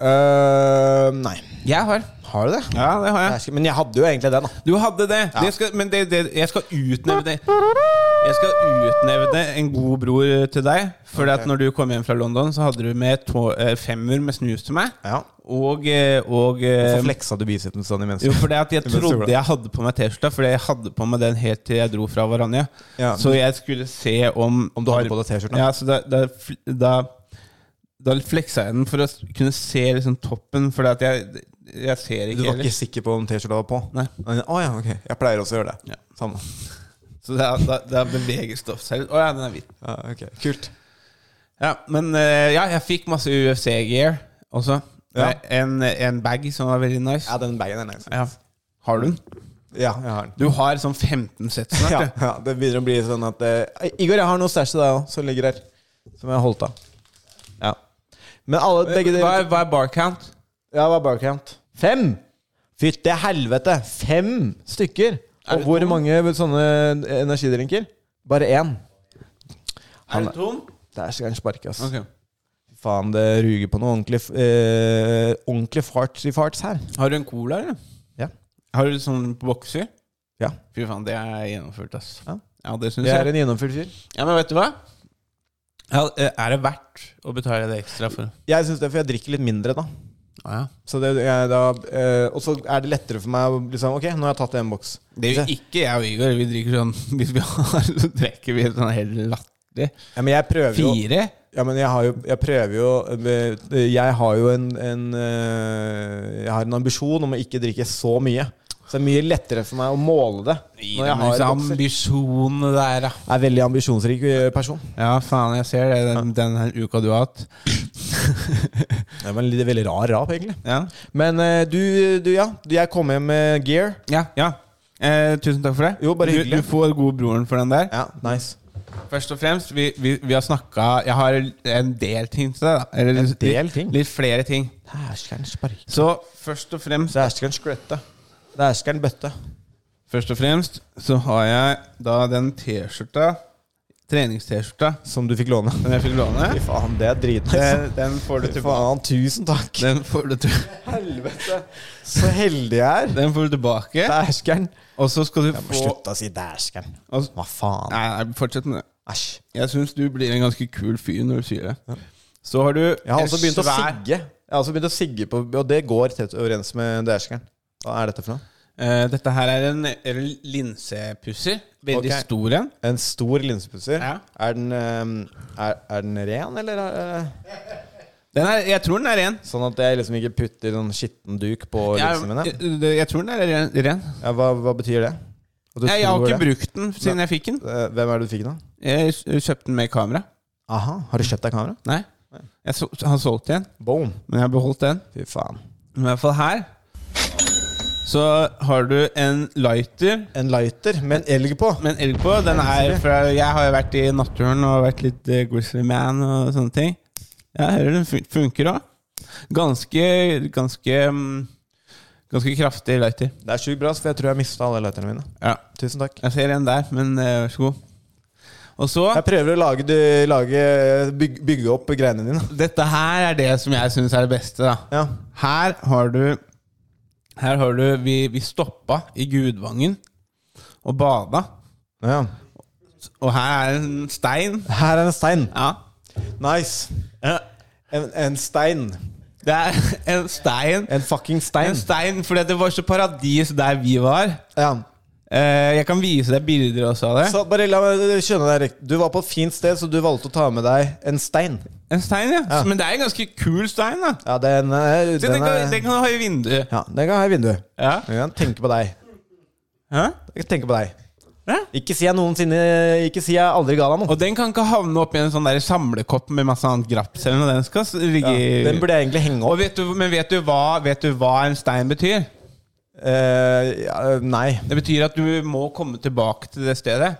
Speaker 3: Øh, nei.
Speaker 2: Jeg har.
Speaker 3: Har du det?
Speaker 2: Ja, det har jeg.
Speaker 3: Jeg husker- Men jeg hadde jo egentlig den, da.
Speaker 2: Du hadde det. det skal, men det, det, jeg skal utnevne det. Jeg skal utnevne en god bror eh, til deg. For at når du kom hjem fra London, så hadde du med to, eh, femmer med snus til meg.
Speaker 3: Ja.
Speaker 2: Og, eh, og eh,
Speaker 3: Så fleksa du bicepsen sånn imens.
Speaker 2: jo, for det at jeg
Speaker 3: Imens du gjorde
Speaker 2: trodde
Speaker 3: det.
Speaker 2: jeg hadde på meg T-skjorta, for jeg hadde på meg den helt til jeg dro fra Varanja.
Speaker 3: Ja.
Speaker 2: Så jeg skulle se om
Speaker 3: Om du hadde på deg T-skjorten, ja.
Speaker 2: Ja, så da, da, fl- da, da fleksa jeg den for å s- kunne se liksom toppen, for at jeg, jeg ser
Speaker 3: Du
Speaker 2: ikke
Speaker 3: var ikke
Speaker 2: heller.
Speaker 3: sikker på om T-skjorta var på?
Speaker 2: Nei.
Speaker 3: Men, Å ja, ok. Jeg pleier også å gjøre det.
Speaker 2: Ja.
Speaker 3: Samme.
Speaker 2: Så da, da, da beveger stoff seg litt. Å ja, den er hvit.
Speaker 3: Ja, ok. Kult.
Speaker 2: Ja, men eh, ja, jeg fikk masse UFC-gear også.
Speaker 3: Ja.
Speaker 2: En, en bag som var veldig nice.
Speaker 3: Ja, den bagen er nice.
Speaker 2: Ja. Har du den?
Speaker 3: Ja, jeg har den.
Speaker 2: Du har sånn 15 sett snart.
Speaker 3: Ja,
Speaker 2: du.
Speaker 3: ja, det begynner å bli sånn at eh, Igor, jeg har noe stæsj til deg òg, som ligger her. Som jeg har holdt av. Ja. Eh, Men alle begge
Speaker 2: Hva, er,
Speaker 3: dere
Speaker 2: hva er bar count?
Speaker 3: Ja, hva er bar count? Fem! Fytte helvete! Fem stykker! Og
Speaker 2: det
Speaker 3: hvor
Speaker 2: tom?
Speaker 3: mange sånne eh, energidrinker? Bare én. Han-
Speaker 2: er du tom?
Speaker 3: Det er så gærent spark, ass.
Speaker 2: Ok.
Speaker 3: Faen, det ruger på noe ordentlig, f- eh, ordentlig farts i farts her.
Speaker 2: Har du en cola, eller?
Speaker 3: Ja.
Speaker 2: Har du sånn bokser?
Speaker 3: Ja.
Speaker 2: Fy faen, det er gjennomført, ass.
Speaker 3: Ja.
Speaker 2: det syns
Speaker 3: Jeg er
Speaker 2: jeg.
Speaker 3: en gjennomført fyr.
Speaker 2: Ja, Men vet du hva? Ja, eh, er det verdt å betale det ekstra for?
Speaker 3: Jeg syns det, er for jeg drikker litt mindre, da.
Speaker 2: Ah, ja.
Speaker 3: Så det, jeg, da eh, og så er det lettere for meg å liksom Ok, nå har jeg tatt en boks.
Speaker 2: Det gjør ikke jeg og Igor. Vi drikker sånn Hvis vi har, så drikker vi sånn helt latterlig.
Speaker 3: Ja, men jeg prøver jo
Speaker 2: Fire?
Speaker 3: Ja, men jeg har jo Jeg prøver jo eh, Jeg har jo en, en eh, Jeg har en ambisjon om å ikke drikke så mye. Så det er mye lettere for meg å måle det når jeg har en bokser.
Speaker 2: Ambisjonene der, da.
Speaker 3: Jeg er en veldig ambisjonsrik eh, person.
Speaker 2: Ja, faen, jeg ser det. Den, den her uka du har hatt.
Speaker 3: Det er en litt- veldig rar rap, egentlig.
Speaker 2: Ja.
Speaker 3: Men eh, du, du, ja. Jeg kom hjem med gear.
Speaker 2: ja, ja. Eh, tusen takk for det.
Speaker 3: Jo, bare
Speaker 2: du,
Speaker 3: hyggelig.
Speaker 2: Du får god broren for den der.
Speaker 3: Ja, nice.
Speaker 2: Først og fremst, vi, vi, vi har snakka Jeg har en del ting til deg. da. Eller litt-
Speaker 3: del ting?
Speaker 2: Litt flere ting.
Speaker 3: Dæskeren sparke.
Speaker 2: Så først og fremst
Speaker 3: Dæskeren skrøtte. Dæskeren bøtte.
Speaker 2: Først og fremst så har jeg da den T-skjorta. Trenings-T-skjorta
Speaker 3: Som du fikk låne.
Speaker 2: som jeg fikk låne.
Speaker 3: Fy faen, det er dritnice.
Speaker 2: Den, den får du
Speaker 3: Fy
Speaker 2: tilbake.
Speaker 3: faen, tusen takk.
Speaker 2: Den får du, til-
Speaker 3: Helvete. Så heldig jeg er.
Speaker 2: den får du tilbake.
Speaker 3: Dæskeren.
Speaker 2: Og så skal du
Speaker 3: Jeg må
Speaker 2: få
Speaker 3: slutte å si dæskeren.
Speaker 2: og, s-
Speaker 3: Hva faen?
Speaker 2: Nei, nei, fortsett med det.
Speaker 3: Æsj.
Speaker 2: Jeg syns du blir en ganske kul fyr når du sier det. Så har du
Speaker 3: Jeg har også
Speaker 2: en
Speaker 3: begynt å
Speaker 2: svær-
Speaker 3: sigge. Jeg har også begynt å sigge på, Og det går tett overens med dæskeren. Hva er dette for noe?
Speaker 2: Eh, dette her er en, er en linsepusser. Veldig
Speaker 3: Ok.
Speaker 2: stor en.
Speaker 3: En stor linsepusser.
Speaker 2: Ja.
Speaker 3: Er, den, eh, er, er den ren, eller? eh,
Speaker 2: Den er, jeg tror den er ren.
Speaker 3: Sånn at jeg liksom ikke putter sånn skitten duk på
Speaker 2: Jeg,
Speaker 3: linsene mine?
Speaker 2: jeg, jeg tror den er ren. ren.
Speaker 3: Ja, hva, hva betyr det? At du
Speaker 2: Jeg, jeg har
Speaker 3: tror
Speaker 2: ikke
Speaker 3: det?
Speaker 2: brukt den siden jeg fikk den.
Speaker 3: Eh, Hvem er det du fikk den av?
Speaker 2: Jeg s- kjøpte den med kamera.
Speaker 3: Aha, har du kjøpt deg kamera?
Speaker 2: Nei. Jeg så, har solgt den,
Speaker 3: Boom.
Speaker 2: men jeg har beholdt den.
Speaker 3: Fy faen.
Speaker 2: Men I hvert fall her så har du en lighter
Speaker 3: En lighter med en elg på.
Speaker 2: med en elg på. Den er fra Jeg har jo vært i naturen og vært litt eh, Grizzly Man og sånne ting. Jeg hører den fun- funker òg. Ganske Ganske mm, Ganske kraftig lighter.
Speaker 3: Det er sjukt bra, for jeg tror jeg mista alle lighterne mine.
Speaker 2: Ja.
Speaker 3: Tusen takk.
Speaker 2: Jeg ser en der, men eh, vær så god. Og så
Speaker 3: Jeg prøver å lage, du, lage byg, bygge opp greiene dine.
Speaker 2: Dette her er det som jeg syns er det beste. da
Speaker 3: Ja.
Speaker 2: Her har du Her har du Vi, vi stoppa i Gudvangen og bada.
Speaker 3: ja.
Speaker 2: Og her er en stein.
Speaker 3: Her er en stein.
Speaker 2: Ja.
Speaker 3: Nice. En, en stein.
Speaker 2: Det er en stein.
Speaker 3: En fucking
Speaker 2: En
Speaker 3: stein.
Speaker 2: stein, fordi det var så paradis der vi var.
Speaker 3: Ja.
Speaker 2: Eh, Jeg kan vise deg bilder også av det.
Speaker 3: Så bare la meg skjønne deg riktig. Du var på et fint sted, så du valgte å ta med deg en stein.
Speaker 2: En stein, ja.
Speaker 3: Ja.
Speaker 2: Men det er en ganske kul stein. da
Speaker 3: Ja, den er,
Speaker 2: Så Den
Speaker 3: den
Speaker 2: kan,
Speaker 3: er
Speaker 2: den kan du ha i vinduet.
Speaker 3: Ja, den kan ha i vinduet.
Speaker 2: Ja.
Speaker 3: Den kan tenke på deg.
Speaker 2: Hæ?
Speaker 3: Jeg tenker på deg.
Speaker 2: Hæ?
Speaker 3: Ikke si jeg noensinne Ikke si jeg aldri ga deg noe.
Speaker 2: Og den kan ikke havne oppi en sånn der samlekopp med masse annet graps. Eller noe. Den skal s- ligge
Speaker 3: Ja,
Speaker 2: i-
Speaker 3: den burde jeg egentlig henge
Speaker 2: Og
Speaker 3: opp.
Speaker 2: vet du, men vet du, hva, vet du hva en stein betyr?
Speaker 3: Eh, ja, nei.
Speaker 2: Det betyr at du må komme tilbake til det stedet.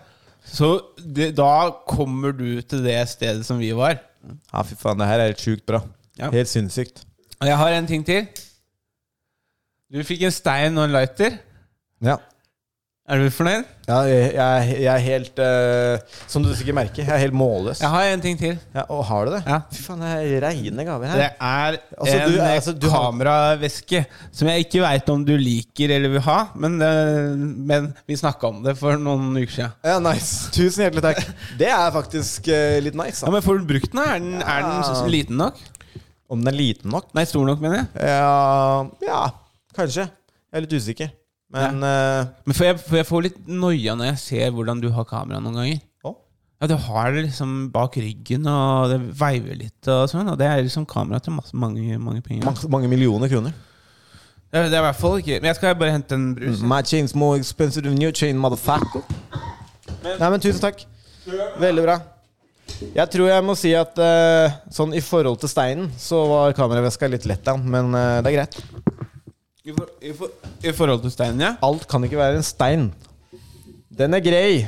Speaker 2: Så det, da kommer du til det stedet som vi var.
Speaker 3: Ja, fy faen, det her er helt sjukt bra.
Speaker 2: Ja.
Speaker 3: Helt sinnssykt.
Speaker 2: Og jeg har en ting til. Du fikk en stein og en lighter.
Speaker 3: Ja.
Speaker 2: Er du fornøyd?
Speaker 3: Ja, jeg, jeg, jeg er helt eh, Som du sikkert merker, jeg er helt målløs.
Speaker 2: Jeg har en ting til.
Speaker 3: Ja, og har du det?
Speaker 2: Ja.
Speaker 3: Fy faen, det er reine gaver her.
Speaker 2: Det er
Speaker 3: Altså,
Speaker 2: en
Speaker 3: du- altså, du har-
Speaker 2: kameraveske som jeg ikke veit om du liker eller vil ha, men, eh, men vi snakka om det for noen uker siden.
Speaker 3: Ja, nice. Tusen hjertelig takk. Det er faktisk eh, litt nice.
Speaker 2: Ja,
Speaker 3: Da.
Speaker 2: men Får du brukt den? Er den, er den s- liten nok?
Speaker 3: Om den er liten nok?
Speaker 2: Nei, stor nok, mener jeg.
Speaker 3: Ja, ja kanskje. Jeg er litt usikker. Men eh,
Speaker 2: Men for jeg, for jeg får litt noia når jeg ser hvordan du har kamera noen ganger.
Speaker 3: å,
Speaker 2: Ja, Du har det liksom bak ryggen, og det veiver litt. og sånn Og det er liksom kamera til masse, mange, mange penger.
Speaker 3: mange, mange millioner kroner.
Speaker 2: Det, er- det er i hvert fall ikke Men jeg skal bare hente en brus.
Speaker 3: My chain's more expensive than your chain, motherfucker. Nei, men tusen takk. Veldig bra. Jeg tror jeg må si at eh, sånn i forhold til steinen, så var kameraveska litt lett, da. Men eh, det er greit.
Speaker 2: I, for, i, for, I forhold til steinen, ja.
Speaker 3: Alt kan ikke være en stein. Den er grei.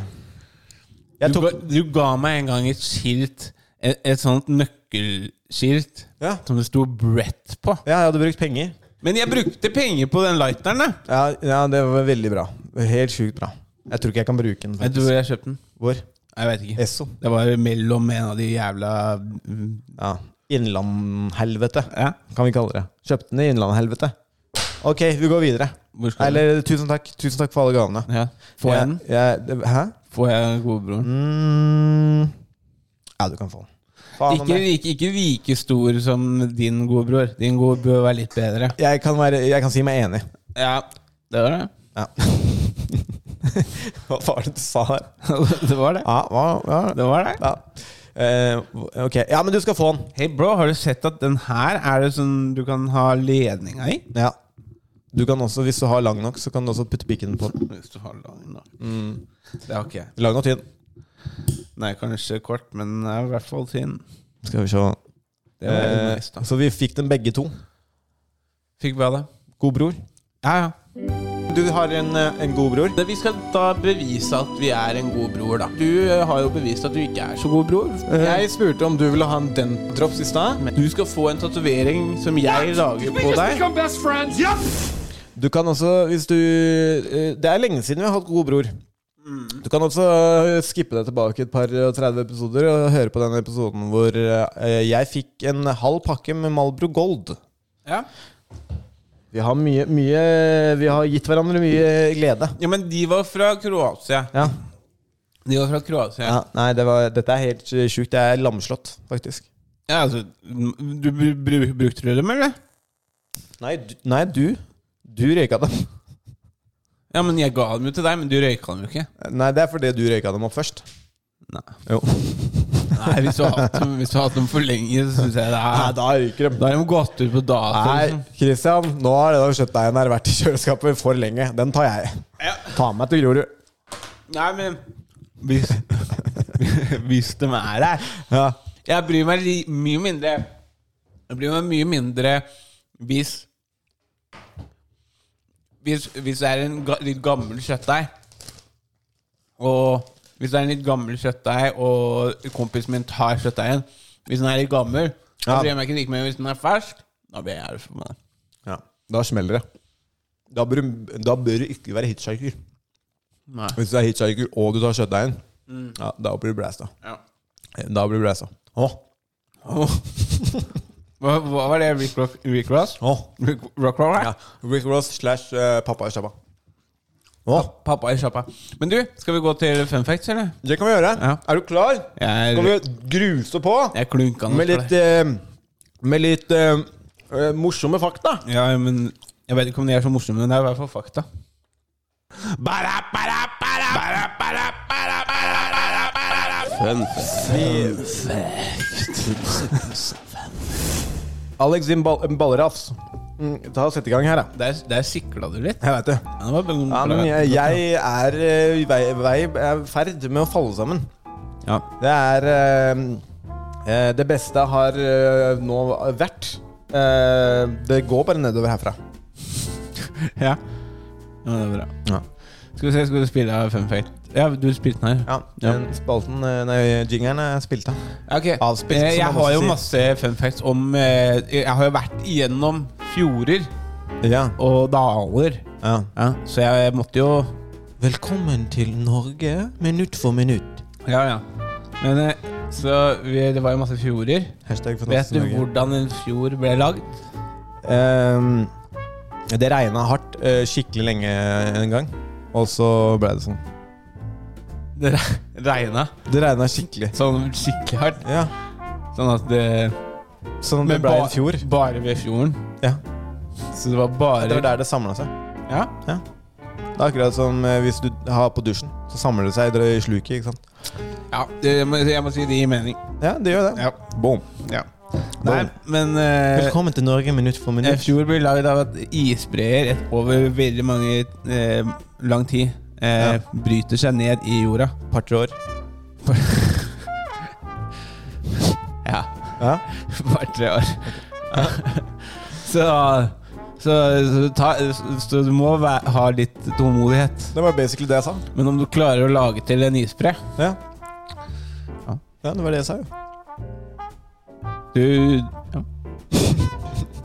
Speaker 3: Jeg
Speaker 2: Du,
Speaker 3: tok
Speaker 2: ga, du ga meg en gang et skilt, et, et sånt nøkkelskilt,
Speaker 3: Ja.
Speaker 2: som det sto Brett på.
Speaker 3: Ja, jeg hadde brukt penger.
Speaker 2: Men jeg brukte penger på den lighteren, da.
Speaker 3: Ja, ja, det var veldig bra. Helt sjukt bra. Jeg tror ikke jeg kan bruke den.
Speaker 2: Jeg tror
Speaker 3: faktisk.
Speaker 2: jeg kjøpte den.
Speaker 3: Hvor?
Speaker 2: Jeg vet ikke.
Speaker 3: Esso.
Speaker 2: Det var mellom en av de jævla mm,
Speaker 3: Ja. Innlandhelvete,
Speaker 2: Ja.
Speaker 3: kan vi kalle det. Kjøpte den i innlandhelvete. Ok, vi går videre.
Speaker 2: Hvor skal
Speaker 3: Eller tusen takk. Tusen takk for alle gavene.
Speaker 2: du? Ja. Får jeg den?
Speaker 3: Jeg- jeg- det- hæ?
Speaker 2: Får jeg godbroren?
Speaker 3: Mm. Ja, du kan få den. Faen om
Speaker 2: Ikke,
Speaker 3: jeg-
Speaker 2: like, ikke like stor som din gode bror. Din gode bør være litt bedre.
Speaker 3: jeg, kan være, jeg kan si meg enig.
Speaker 2: Ja, det var det.
Speaker 3: Ja. hva var det du sa der?
Speaker 2: det var det.
Speaker 3: Ja, hva, ja.
Speaker 2: Det var det.
Speaker 3: ja. Eh, ok, ja, men du skal få den.
Speaker 2: Hei, bro, har du sett at den her er det sånn du kan ha ledninga i?
Speaker 3: Ja. Du kan også, hvis du har lang nok, så kan du også putte pikken på den.
Speaker 2: Hvis du har lang, da. Mm. Det har ikke jeg.
Speaker 3: Lang og tynn.
Speaker 2: Nei, kanskje kort, men den er i hvert fall tynn.
Speaker 3: Skal vi se.
Speaker 2: Det var
Speaker 3: Eh,
Speaker 2: eh, nice, da.
Speaker 3: så vi fikk dem begge to.
Speaker 2: Fikk vi av det?
Speaker 3: God bror.
Speaker 2: Ja, ja.
Speaker 3: Du har en, eh, en god bror.
Speaker 2: Det- Vi skal da bevise at vi er en god bror, da. Du eh, har jo bevist at du ikke er så god bror. Jeg,
Speaker 3: Jeg spurte om du ville ha en dentdrops i stad.
Speaker 2: du skal få en tatovering som jeg lager på deg.
Speaker 3: Du kan også, hvis du eh, Det er lenge siden vi har hatt God bror. Du kan også eh, skippe deg tilbake et par og 30 episoder og høre på den episoden hvor eh, jeg fikk en halv pakke med Malbro Gold.
Speaker 2: Ja.
Speaker 3: Vi har, mye, mye, vi har gitt hverandre mye glede.
Speaker 2: ja, men de var fra Kroatia.
Speaker 3: Ja.
Speaker 2: De var fra Kroatia.
Speaker 3: ja
Speaker 2: Ja,
Speaker 3: nei, det var, dette er helt eh, sjukt. Jeg er lamslått, faktisk.
Speaker 2: altså m- Du br br brukte du dem, eller?
Speaker 3: Nei, du Nei, du, du røyka dem.
Speaker 2: Ja, men jeg ga dem jo til deg, men du røyka dem jo ikke.
Speaker 3: Nei, det er fordi du røyka dem opp først.
Speaker 2: Nei,
Speaker 3: Jo.
Speaker 2: Nei hvis du har hatt dem, hvis du har hatt dem for lenge, så syns jeg det
Speaker 3: Nei,
Speaker 2: er
Speaker 3: da røyker de.
Speaker 2: Da har de gått ut på dato.
Speaker 3: Nei,
Speaker 2: Liksom.
Speaker 3: Christian, nå har den kjøttdeigen her vært i kjøleskapet for lenge. Den tar jeg.
Speaker 2: Ja.
Speaker 3: Ta meg til Grorud.
Speaker 2: Nei, men hvis, hvis de er der
Speaker 3: Ja.
Speaker 2: Jeg bryr meg li mye mindre Jeg bryr meg mye mindre hvis Hvis, hvis det er en ga litt gammel kjøttdeig Og hvis det er en litt gammel kjøttdeig Og kompisen min tar kjøttdeigen Hvis den er litt gammel Da
Speaker 3: Ja.
Speaker 2: bryr jeg meg ikke like mye hvis den er fersk Da blir jeg for meg
Speaker 3: ja. Da smeller det. Da bør, du- da bør du ikke være hitchhiker.
Speaker 2: Nei. Mm.
Speaker 3: Hvis du er hitchhiker og du tar kjøttdeigen, ja, da blir du blæsta.
Speaker 2: Ja.
Speaker 3: Da blir du blæsta. Å,
Speaker 2: Hva, hva var det? Rick Rock? Rick Ross?
Speaker 3: å.
Speaker 2: Rick Rock Rock?
Speaker 3: Ja. Rick Ross slash eh, pappa i sjappa. Å,
Speaker 2: Pappa i sjappa. Men du, skal vi gå til fun facts, eller?
Speaker 3: det kan vi gjøre.
Speaker 2: Ja.
Speaker 3: Er du klar?
Speaker 2: Jeg er,
Speaker 3: Skal vi gruse på?
Speaker 2: jeg er klunkende
Speaker 3: Med litt, eh, med litt eh, eh, morsomme fakta.
Speaker 2: Ja, men jeg vet ikke om de er så morsomme, men det er i hvert fall fakta. Fun
Speaker 3: Alex sin ball ballrafs. Mm, ta og Sett i gang her, da.
Speaker 2: Der, der sikla du litt.
Speaker 3: Jeg veit det.
Speaker 2: Ja, det var bra.
Speaker 3: Ja, men jeg, jeg er eh, i vei, vei, er i ferd med å falle sammen.
Speaker 2: Ja.
Speaker 3: Det er eh, eh, Det beste har eh, nå vært. Eh, det går bare nedover herfra.
Speaker 2: ja. Ja, det er bra.
Speaker 3: Ja.
Speaker 2: Skal vi se, skal du spille av fun fact? Ja, du spilte den her.
Speaker 3: Ja, den spalten eh, Nei, jingeren er spilt av.
Speaker 2: Ok,
Speaker 3: Avspilt,
Speaker 2: Eh,
Speaker 3: som
Speaker 2: Jeg
Speaker 3: man
Speaker 2: har
Speaker 3: også
Speaker 2: jo
Speaker 3: sier.
Speaker 2: masse fun facts om eh, Jeg har jo vært igjennom fjorder
Speaker 3: Ja.
Speaker 2: og daler.
Speaker 3: ja.
Speaker 2: Ja, så jeg måtte jo
Speaker 3: Velkommen til Norge, minutt for minutt.
Speaker 2: Ja, ja. Men eh, så vi, det var jo masse fjorder.
Speaker 3: Hashtag for
Speaker 2: Vet du
Speaker 3: Norge.
Speaker 2: hvordan en fjord ble lagd?
Speaker 3: Ehm, det regna hardt eh, skikkelig lenge en gang, og så ble det sånn.
Speaker 2: Det regna
Speaker 3: Det regna skikkelig.
Speaker 2: sånn skikkelig hardt.
Speaker 3: Ja,
Speaker 2: Sånn at det
Speaker 3: Sånn at det ble
Speaker 2: ba-
Speaker 3: en fjord.
Speaker 2: Bare ved fjorden.
Speaker 3: Ja.
Speaker 2: Så det var bare
Speaker 3: Det var der det samla seg.
Speaker 2: Ja.
Speaker 3: Det er akkurat som eh, hvis du har på dusjen, så samler det seg i sluket. ikke sant?
Speaker 2: ja det, jeg, må, jeg må si det gir mening.
Speaker 3: Ja, det gjør det.
Speaker 2: Ja.
Speaker 3: Boom.
Speaker 2: ja. Nei, men eh,
Speaker 3: Velkommen til Norge minutt for
Speaker 2: En
Speaker 3: minutt.
Speaker 2: fjord blir laget av at isbreer et- over veldig mange eh, lang tid eh,
Speaker 3: Ja.
Speaker 2: bryter seg ned i jorda.
Speaker 3: Par-tre år.
Speaker 2: Ja,
Speaker 3: Ja.
Speaker 2: bare tre år. så så, så, ta, så du må væ- ha litt tålmodighet.
Speaker 3: Det var basically det jeg sa.
Speaker 2: Men om du klarer å lage til en isbre
Speaker 3: Ja.
Speaker 2: Ja.
Speaker 3: Ja, det var det jeg sa, jo.
Speaker 2: Du ja.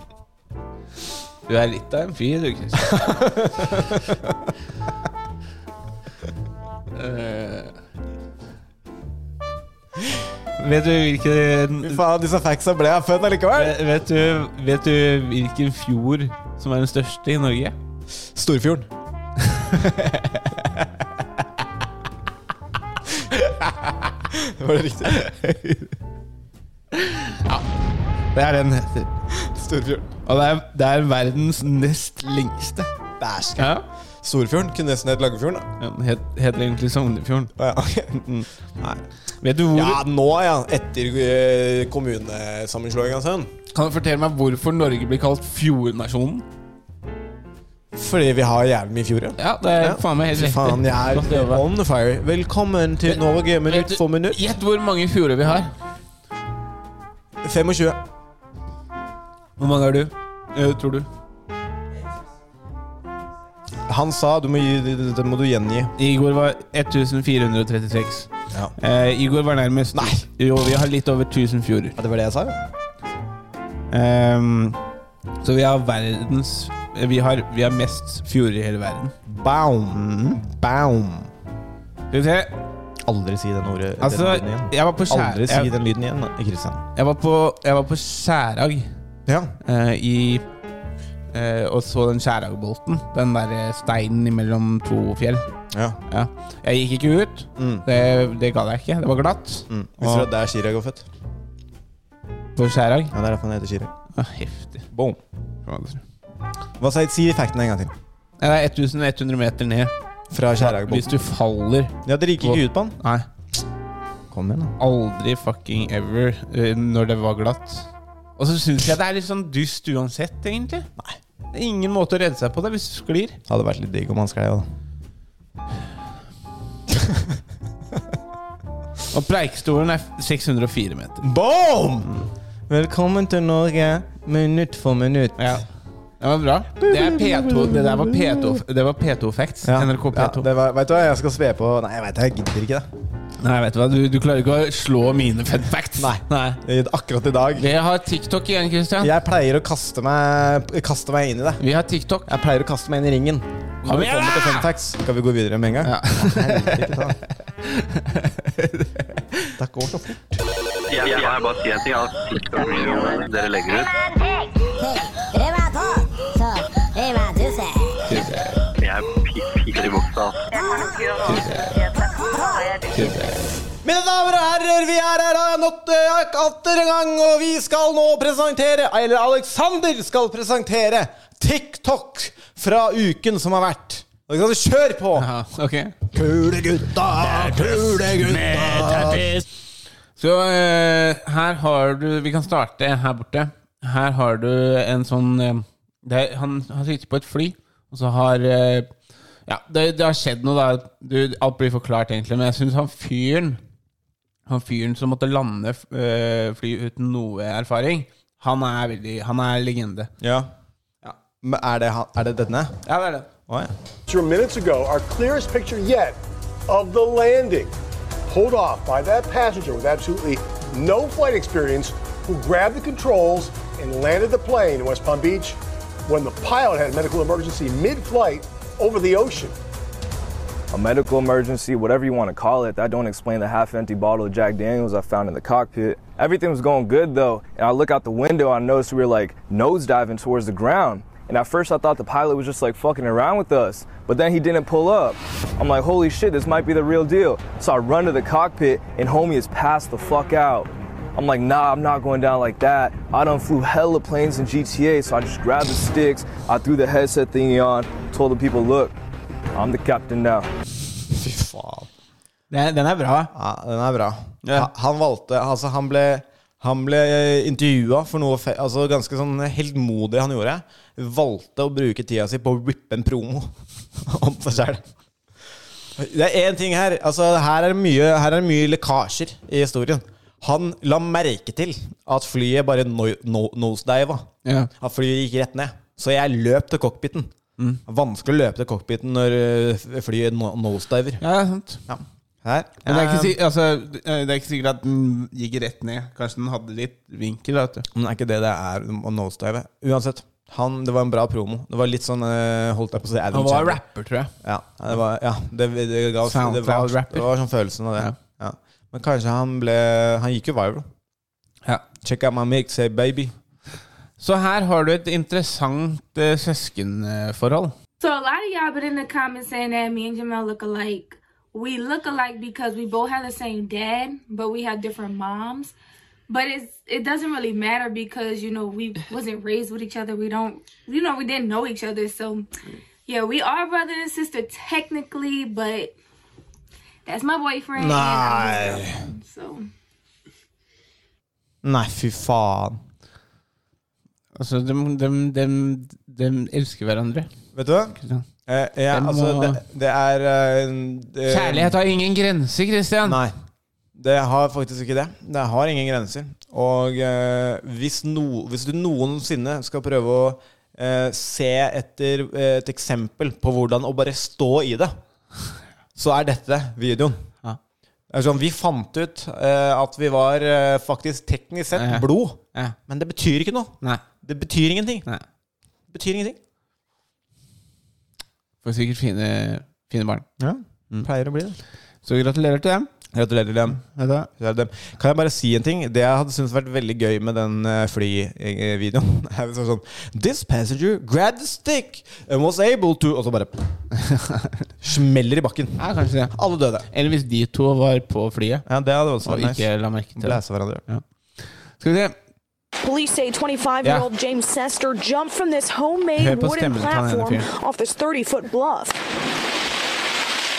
Speaker 2: Du er litt av en fyr, du, Kristian. Vet du hvilken
Speaker 3: Fy faen, disse factsa ble jeg født allikevel.
Speaker 2: Ve- vet du, vet du hvilken fjord som er den største i Norge?
Speaker 3: Storfjorden. Var det riktig?
Speaker 2: Det er den heter.
Speaker 3: Storfjorden.
Speaker 2: Og det er, det er verdens nest lengste.
Speaker 3: Bæsj.
Speaker 2: Ja.
Speaker 3: Storfjorden kunne nesten hett Langefjorden. da.
Speaker 2: Den het, heter egentlig Sognefjorden.
Speaker 3: Ja, Mm. ok.
Speaker 2: Vet du hvor
Speaker 3: ja, nå ja. Etter eh, sånn. kommunesammenslåinga, sønn.
Speaker 2: Kan du fortelle meg hvorfor Norge blir kalt fjordnasjonen?
Speaker 3: Fordi vi har jævlig mye fjorder.
Speaker 2: Ja, det er faen meg helt
Speaker 3: Fy
Speaker 2: riktig.
Speaker 3: faen, jeg
Speaker 2: Godt
Speaker 3: er
Speaker 2: jobba.
Speaker 3: on fire. Velkommen til Norge
Speaker 2: Vet
Speaker 3: minutt
Speaker 2: du-
Speaker 3: for minutt.
Speaker 2: Gjett hvor mange fjorder vi har.
Speaker 3: 25.
Speaker 2: Hvor mange har du? Eh, tror du?
Speaker 3: Han sa du må gi, det må du gjengi.
Speaker 2: Igor var 1436.
Speaker 3: Ja.
Speaker 2: Eh, Igor var nærmest.
Speaker 3: Nei.
Speaker 2: Jo, vi har litt over 1000 fjorder.
Speaker 3: Det var det jeg sa, jo.
Speaker 2: Ehm, så vi har verdens eh, vi har, vi har mest fjorder i hele verden.
Speaker 3: Baum. Baum.
Speaker 2: Skal vi se
Speaker 3: Aldri si den ordet.
Speaker 2: Altså,
Speaker 3: den lyden igjen.
Speaker 2: jeg var på, skjær,
Speaker 3: Aldri si
Speaker 2: jeg,
Speaker 3: den lyden igjen, da, Kristian.
Speaker 2: jeg var på, jeg var på Skjærag
Speaker 3: Ja.
Speaker 2: eh, i eh, Og så den Skjæragbolten. Den derre steinen imellom to fjell.
Speaker 3: ja.
Speaker 2: Ja. Jeg gikk ikke ut.
Speaker 3: Mm.
Speaker 2: Det, det gadd jeg ikke. Det var glatt.
Speaker 3: Mm. Visste du at det er Chirag var født?
Speaker 2: På Skjærag.
Speaker 3: Ja, det er derfor han heter Chirag.
Speaker 2: Ah, heftig. Eh,
Speaker 3: Boom.
Speaker 2: Nei,
Speaker 3: Hva sa jeg? Si facten en gang til.
Speaker 2: det er 1100 meter ned.
Speaker 3: Fra
Speaker 2: Hvis
Speaker 3: Kjæragbotn.
Speaker 2: du faller
Speaker 3: Ja, dere gikk ikke ut på han.
Speaker 2: Nei,
Speaker 3: Kom igjen, da.
Speaker 2: aldri fucking ever eh, når det var glatt. Og så syns jeg det er litt sånn dust uansett, egentlig. Nei. Det er ingen måte å redde seg på det hvis du sklir.
Speaker 3: Det hadde vært litt digg om han sklei, da.
Speaker 2: Og Preikestolen er 604 meter.
Speaker 3: Boom! Mm. Velkommen til Norge, minutt for minutt.
Speaker 2: Ja. Det var bra. Det, er P2, det der var P2 Det var P2 Facts.
Speaker 3: Ja.
Speaker 2: NRK P2.
Speaker 3: Ja, det var, vet du hva, jeg skal sve på Nei, jeg vet det, jeg gidder ikke det.
Speaker 2: Nei, vet du hva, du, du klarer ikke å slå mine fun facts.
Speaker 3: Nei. Eh, Akkurat i dag.
Speaker 2: Vi har TikTok igjen, Christian.
Speaker 3: Jeg pleier å kaste meg, kaste meg inn i det.
Speaker 2: Vi har TikTok.
Speaker 3: Jeg pleier å kaste meg inn i ringen.
Speaker 2: Kom
Speaker 3: Når det
Speaker 2: igjen,
Speaker 3: kommer til
Speaker 2: da!
Speaker 3: fun facts, skal vi gå videre med en gang?
Speaker 2: Ja.
Speaker 3: Helvete, da. Det går så fort.
Speaker 4: Jeg, jeg, jeg bare sier en ting. Altså, TikTok-videoene dere legger ut, jeg er pi- piker i buksa. altså.
Speaker 3: Mine damer og herrer, vi er her eh, not- eh, atter en gang, og vi skal nå presentere Eller Alexander skal presentere TikTok fra uken som har vært. Alexander, kjør på!
Speaker 2: Ja, ok
Speaker 3: Kule gutta, kule gutta.
Speaker 2: Så eh, her har du Vi kan starte her borte. Her har du en sånn eh, det er, han, han sitter på et fly, og så har eh, Ja, det, det har skjedd noe, da. Du, alt blir forklart, egentlig. Men jeg syns han fyren Han fyren som måtte lande eh, fly uten noe erfaring, han er veldig Han er legende.
Speaker 3: Ja. Men er det, han- er det denne?
Speaker 2: Ja, det er det.
Speaker 3: Å ja.
Speaker 7: Two minutes ago, our clearest picture yet of the landing pulled off by that passenger with absolutely no flight experience who grabbed the controls and landed the plane in West Palm Beach when the pilot had a medical emergency mid flight over the ocean.
Speaker 8: a medical emergency, whatever you want to call it. That don't explain the half-empty bottle of Jack Daniels I found in the cockpit. Everything was going good though, and I look out the window. I noticed we were like nosediving towards the ground. And at first I thought the pilot was just like fucking around with us, but then he didn't pull up. I'm like, holy shit, this might be the real deal. So I run to the cockpit and homie is passed the fuck out. I'm like, nah, I'm not going down like that. I done flew hella planes in GTA, so I just grabbed the sticks, I threw the headset thingy on, told the people, look, I'm the captain now.
Speaker 3: Fy faen.
Speaker 2: Den, den er bra.
Speaker 3: Ja, den er bra.
Speaker 2: Ja.
Speaker 3: Ha- Han valgte Altså, han ble han ble intervjua for noe fe altså ganske sånn heltmodig han gjorde. Valgte å bruke tida si på å rippe en promo om seg sjæl. Det er én ting her. Altså, her er det mye, her er det mye lekkasjer i historien. Han la merke til at flyet bare no no nosediva.
Speaker 2: Ja.
Speaker 3: At flyet gikk rett ned. Så jeg løp til cockpiten.
Speaker 2: Mm.
Speaker 3: Vanskelig å løpe til cockpiten når øh, flyet no nosediver.
Speaker 2: Ja, det er sant.
Speaker 3: Ja. Her.
Speaker 2: Men det er, ikke,
Speaker 3: Eh,
Speaker 2: si- altså, det er ikke sikkert at den gikk rett ned. Kanskje den hadde litt vinkel. Vet du.
Speaker 3: Men det er ikke det det er å nosedive. Uansett, han, det var en bra promo. Det var litt sånn eh, Holdt jeg på å si Adam
Speaker 2: Han var
Speaker 3: Sandler.
Speaker 2: rapper, tror jeg.
Speaker 3: Ja, det var, ja, det, det ga oss det var,
Speaker 2: SoundCloud-rapper.
Speaker 3: det var sånn følelsen av det.
Speaker 2: Ja.
Speaker 3: Ja. Men kanskje han ble Han gikk jo viral.
Speaker 2: Ja.
Speaker 3: Check out my milk, say baby.
Speaker 2: Så her har du et interessant eh, søskenforhold.
Speaker 9: So a lot of y'all been in the comments saying that me and Jamel look alike. We look alike because we both have the same dad, but we have different moms. But it's it doesn't really matter because you know we wasn't raised with each other. We don't you know we didn't know each other. So yeah, we are brother and sister technically, but that's my boyfriend. and I'm his girlfriend, So
Speaker 3: Nei, fy faen.
Speaker 2: Altså, de, elsker hverandre.
Speaker 3: Vet du hva? Eh, ja,
Speaker 2: Den må-
Speaker 3: altså, det, det er eh, det,
Speaker 2: Kjærlighet har ingen grenser, Christian.
Speaker 3: Nei. Det har faktisk ikke det. Det har ingen grenser. Og eh, hvis, no, hvis du noensinne skal prøve å eh, se etter eh, et eksempel på hvordan å bare stå i det, så er dette videoen.
Speaker 2: Ja.
Speaker 3: Det er sånn, vi fant ut eh, at vi var eh, faktisk teknisk sett
Speaker 2: Ja.
Speaker 3: blod,
Speaker 2: Ja.
Speaker 3: men det betyr ikke noe.
Speaker 2: Nei.
Speaker 3: Det betyr ingenting.
Speaker 2: Nei.
Speaker 3: Det betyr ingenting.
Speaker 2: Får sikkert fine, fine barn.
Speaker 3: Ja,
Speaker 2: Mm.
Speaker 3: pleier å bli det.
Speaker 2: Så gratulerer til dem.
Speaker 3: Gratulerer, Liam. Kjære dem. Kan jeg bare si en ting? Det jeg hadde syntes vært veldig gøy med den eh, flyvideoen er hvis det var sånn This passenger grabbed the stick and was able to Og så bare smeller i bakken.
Speaker 2: Ja, kanskje det.
Speaker 3: Alle døde.
Speaker 2: Eller hvis de to var på flyet
Speaker 3: Ja, det hadde også
Speaker 2: og
Speaker 3: vært nice.
Speaker 2: ikke la merke til det.
Speaker 3: Blæse hverandre.
Speaker 2: Skal vi se.
Speaker 10: Police say 25 year old James Sester jumped from this
Speaker 2: Hør
Speaker 10: homemade
Speaker 2: på
Speaker 10: wooden
Speaker 2: stemmen til han ene
Speaker 10: platform
Speaker 2: fyren.
Speaker 10: off this 30 foot bluff.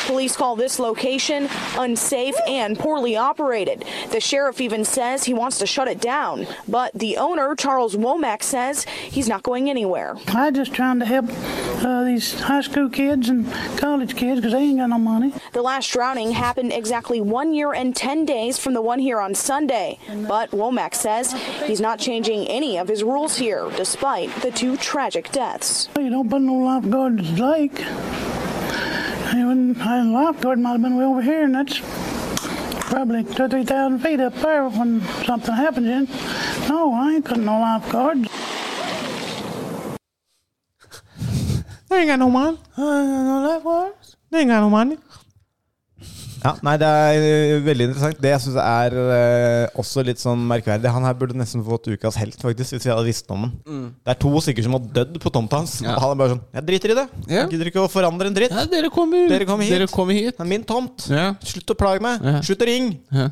Speaker 10: Police call this location unsafe and poorly operated. The sheriff even says he wants to shut it down, but the owner, Charles Womack, says he's not going anywhere.
Speaker 5: I'm just trying to help uh, these high school kids and college kids because they ain't got no money.
Speaker 10: The last drowning happened exactly one year and 10 days from the one here on Sunday, but Womack says he's not changing any of his rules here, despite the two tragic deaths.
Speaker 5: You don't put no lifeguard in the lake. I wouldn't, I, lifeguard might have been way over here, and that's probably two or three thousand feet up there when something happens. In no, I ain't putting no lifeguards.
Speaker 3: They ain't got no money. They ain't got no money. Ja, nei, det er eh, veldig interessant. Det jeg syns er eh, også litt sånn merkverdig Han her burde nesten fått ukas helt, faktisk, hvis vi hadde visst om den. Det er to stykker som har dødd på tomta hans.
Speaker 2: Ja.
Speaker 3: Og han er bare sånn Jeg driter i det.
Speaker 2: Ja.
Speaker 3: Jeg gidder ikke å forandre en dritt.
Speaker 2: Ja, dere kommer,
Speaker 3: Dere kommer hit.
Speaker 2: Dere kommer hit.
Speaker 3: Det er min tomt.
Speaker 2: Ja.
Speaker 3: Slutt å plage meg.
Speaker 2: Ja.
Speaker 3: Slutt å ringe.
Speaker 2: Nei,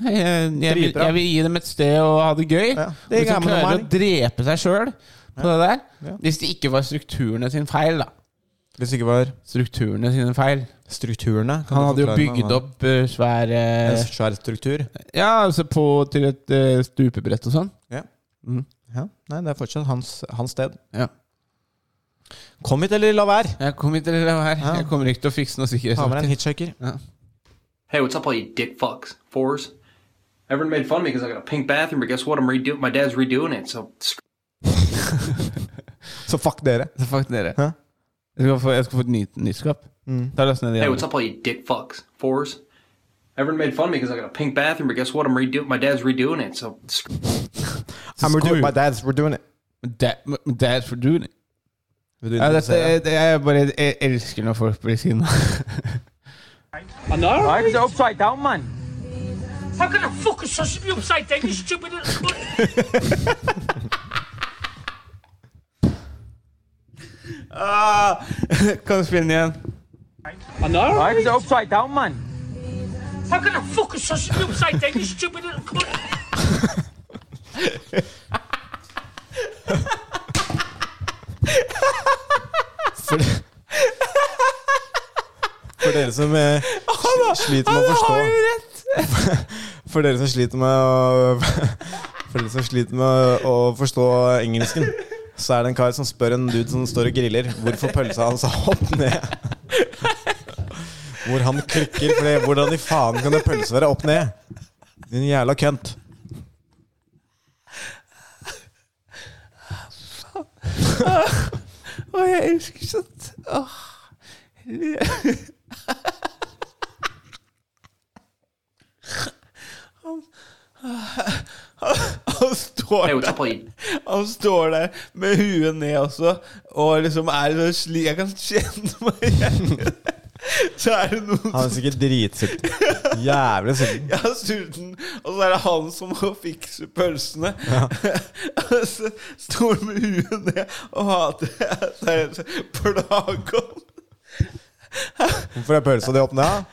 Speaker 2: Jeg, jeg, vil,
Speaker 3: Dritbra.
Speaker 2: jeg vil gi dem et sted å ha det gøy.
Speaker 3: Ja, det
Speaker 2: Hvis de
Speaker 3: er gammel
Speaker 2: klarer å
Speaker 3: normalen.
Speaker 2: drepe seg sjøl på det der.
Speaker 3: Ja.
Speaker 2: Hvis det ikke var strukturene sin feil, da.
Speaker 3: Hvis ikke var
Speaker 2: Strukturene sine feil.
Speaker 3: strukturene kan
Speaker 2: Han
Speaker 3: du
Speaker 2: hadde jo
Speaker 3: forklare meg
Speaker 2: bygd
Speaker 3: hva-
Speaker 2: opp eh, svær eh,
Speaker 3: En svær struktur.
Speaker 2: Ja, altså på, til et eh, stupebrett og sånn.
Speaker 3: Ja. ja. Nei, det er fortsatt hans, hans sted.
Speaker 2: Ja.
Speaker 3: Kom hit, eller la være.
Speaker 2: Jeg kommer ikke til å være her. Jeg kommer ikke til å fikse noe
Speaker 3: Ta med deg en
Speaker 2: sikkerhet.
Speaker 3: hitchhiker.
Speaker 11: Hey, what's up, all you dick fucks? Fours? Everyone made fun of me because I got a pink bathroom, but guess what? I'm redoing. My dad's redoing it, so
Speaker 3: Så fuck dere.
Speaker 2: Så fuck dere.
Speaker 3: Hæ? Mm.
Speaker 2: Jeg skal få, jeg skal få et nytt nyskap. Ta last ned de
Speaker 11: Hey,
Speaker 2: andre.
Speaker 11: what's up, all you dick fucks? Fours? Everyone made fun of me because I got a pink bathroom, but guess what? I'm redoing. My dad's redoing it, so
Speaker 3: I'm
Speaker 2: Screw
Speaker 3: redoing
Speaker 2: you.
Speaker 3: my dad's. We're doing it.
Speaker 2: Dad, dad's for doing it.
Speaker 3: Vil du
Speaker 2: Ja, dette,
Speaker 3: introdusere?
Speaker 2: jeg, jeg bare jeg elsker når folk blir sinna.
Speaker 12: No?
Speaker 2: Why
Speaker 12: is it upside down, man? How can a fucking sausage be upside down, you stupid little
Speaker 2: ah, kan du spille den igjen?
Speaker 12: No?
Speaker 2: Why is it
Speaker 12: upside down, man? How can a fucking sausage be upside down, you stupid little cunt?
Speaker 3: For, for dere som eh, sli- sliter med å forstå For dere som sliter med å For dere som sliter med å forstå engelsken, så er det en kar som spør en dude som står og griller, hvorfor pølsa hans er opp ned. Hvor han klikker for det. Hvordan i faen kan en pølse være opp ned? Din jævla kønt.
Speaker 2: Å, jeg elsker sånt. Åh. Han- Han står
Speaker 11: Hey, what's up,
Speaker 2: der
Speaker 3: sånn.
Speaker 2: Han står der med huet ned også, og liksom er så slik Jeg kan kjenne meg igjen. Så er det noen
Speaker 3: Han er sikkert dritsulten. Jævlig sulten.
Speaker 2: jeg er sulten, og så er det han som må fikse pølsene.
Speaker 3: Ja.
Speaker 2: Og så Står han med huet ned og hater Seriøst, plager han.
Speaker 3: Hvorfor er pølsa di opp ned? da?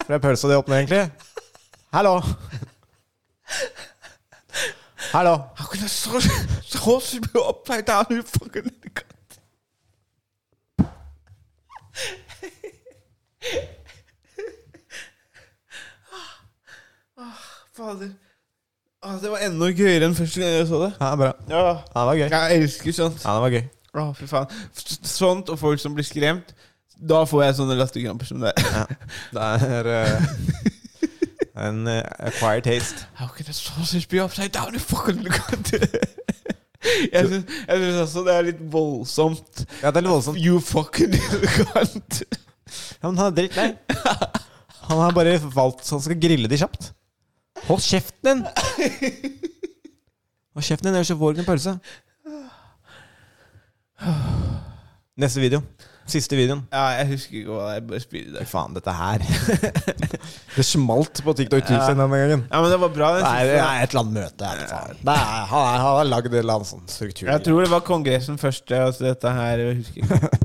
Speaker 3: Hvorfor er pølsa di opp ned, egentlig? Hallo? Hallo?
Speaker 2: How can I so, so should be upside down, you fucking little cunt? Åh, Fader. Åh, det var enda gøyere enn første gang jeg så det.
Speaker 3: Ja, bra.
Speaker 2: Ja.
Speaker 3: det var gøy.
Speaker 2: Jeg elsker sånt.
Speaker 3: Ja, det var gøy.
Speaker 2: Å, fy faen. S- Sånt og folk som blir skremt. Da får jeg sånne latterkramper som det.
Speaker 3: Det er eh, en eh, acquired taste.
Speaker 2: How can a sausage be upside down? You fucking look at it. Jeg syns jeg syns også det er litt voldsomt.
Speaker 3: Ja, det er litt voldsomt.
Speaker 2: You fucking elegant.
Speaker 3: Ja, men han er drittlei. Han har bare valgt så han skal grille de kjapt. Hold kjeften din! Hold kjeften din, ellers så får du ikke en pølse. Neste video. Siste videoen.
Speaker 2: Ja, jeg husker ikke hva det er. Bare spyr i dag.
Speaker 3: Faen, dette her Det smalt på TikTok
Speaker 2: Ja.
Speaker 3: Tusen denne gangen.
Speaker 2: Ja, men det var bra. Den
Speaker 3: Det er,
Speaker 2: siste.
Speaker 3: det er et eller annet møte. Jeg, vet faen. det er, han, er, han har lagd en eller annen sånn struktur.
Speaker 2: Jeg tror det var Kongressen først. Altså dette her, jeg husker ikke.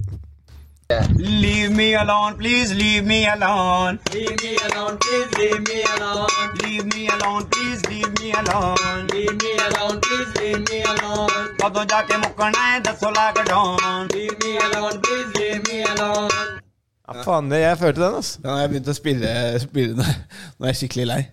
Speaker 13: Leave me alone, please leave me alone. Leave me alone, please leave me alone. Leave me alone, please leave me alone. Leave me alone, please leave me alone. कदों जाके मुकना है दसो lakh don. Leave me alone, please leave me alone.
Speaker 3: Ja, faen, det- jeg følte den, altså.
Speaker 2: Den har jeg begynt å spille, spille når, når jeg er skikkelig lei.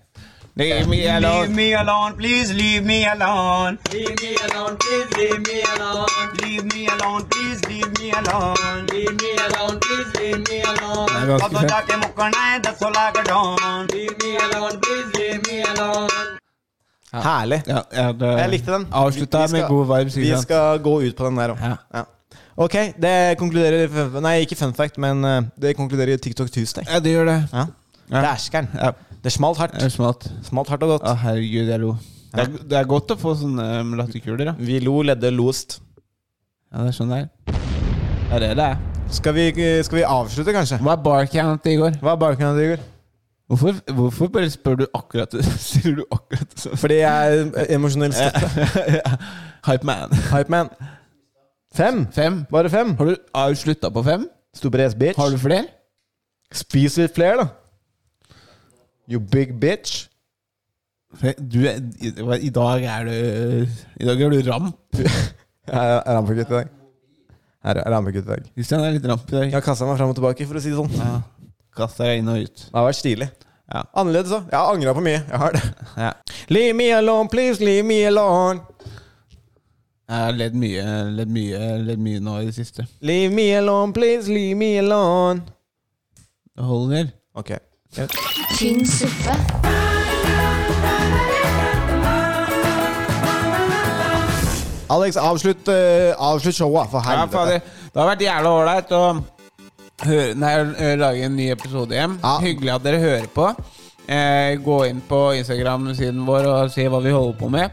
Speaker 2: Leave me
Speaker 13: Leave
Speaker 2: alone.
Speaker 13: me alone, please leave me alone. Leave me alone, please leave me alone. Leave me alone, please leave me alone. Leave me alone, please leave me alone.
Speaker 2: Nei, ganske
Speaker 13: कदों
Speaker 2: fett.
Speaker 13: जाके मुकना है दसो lakh don. Leave me alone, please leave me alone.
Speaker 3: Herlig.
Speaker 2: Ja, ja, det,
Speaker 3: Jeg likte den.
Speaker 2: Avslutta
Speaker 3: Vi- vi
Speaker 2: med
Speaker 3: skal-
Speaker 2: god vibes.
Speaker 3: Vi
Speaker 2: Ikke sant?
Speaker 3: skal gå ut på den der òg.
Speaker 2: Ja.
Speaker 3: Ja. Ok, det konkluderer fun- Nei, ikke fun fact, men eh, det konkluderer TikTok Tuesday.
Speaker 2: Ja, det gjør det.
Speaker 3: Ja. Dæsker'n.
Speaker 2: Ja.
Speaker 3: Det smalt hardt.
Speaker 2: Det er smalt.
Speaker 3: Smalt hardt og godt.
Speaker 2: Å, herregud, jeg lo. Det er, det er godt å få sånne um, latterkuler, ja.
Speaker 3: Vi lo, ledde, lost.
Speaker 2: Ja, det er sånn det er. Det er det det er.
Speaker 3: Skal vi, eh, skal vi avslutte, kanskje?
Speaker 2: Hva er bar count i går?
Speaker 3: Hva er bakgrunnen til det, Igor?
Speaker 2: Hvorfor, hvorfor bare spør du akkurat Stiller du akkurat det samme?
Speaker 3: Fordi jeg er emosjonell støtte.
Speaker 2: Hype man.
Speaker 3: Hype man. Fem?
Speaker 2: Fem.
Speaker 3: Bare fem?
Speaker 2: Har du, har du slutta på fem?
Speaker 3: Stupid ass bitch.
Speaker 2: Har du flere?
Speaker 3: Spis litt flere, da. You big bitch.
Speaker 2: Du er, i, i dag er du I dag er du ramp.
Speaker 3: Jeg er er rampegutt i dag. Jeg er- er rampegutt i dag.
Speaker 2: Kristian er litt ramp i dag.
Speaker 3: Jeg har kasta meg fram og tilbake, for å si det sånn.
Speaker 2: Ja. Kasta deg inn og ut.
Speaker 3: Det har vært stilig.
Speaker 2: Ja.
Speaker 3: Annerledes, da. Jeg har angra på mye. Jeg har det.
Speaker 2: Ja.
Speaker 3: Leave me alone, please, leave me alone.
Speaker 2: Jeg har ledd mye, ledd mye, ledd mye nå i det siste.
Speaker 3: Leave me alone, please, leave me alone.
Speaker 2: Det holder.
Speaker 3: Ok.
Speaker 1: Tynn suppe.
Speaker 3: Alex, avslutt, eh, avslutt showet, for
Speaker 2: Ja,
Speaker 3: helvete.
Speaker 2: fader. Det har vært jævla ålreit å høre- nei, å lage en ny episode hjem.
Speaker 3: Ja.
Speaker 2: Hyggelig at dere hører på. Eh, gå inn på Instagram-siden vår og se hva vi holder på med.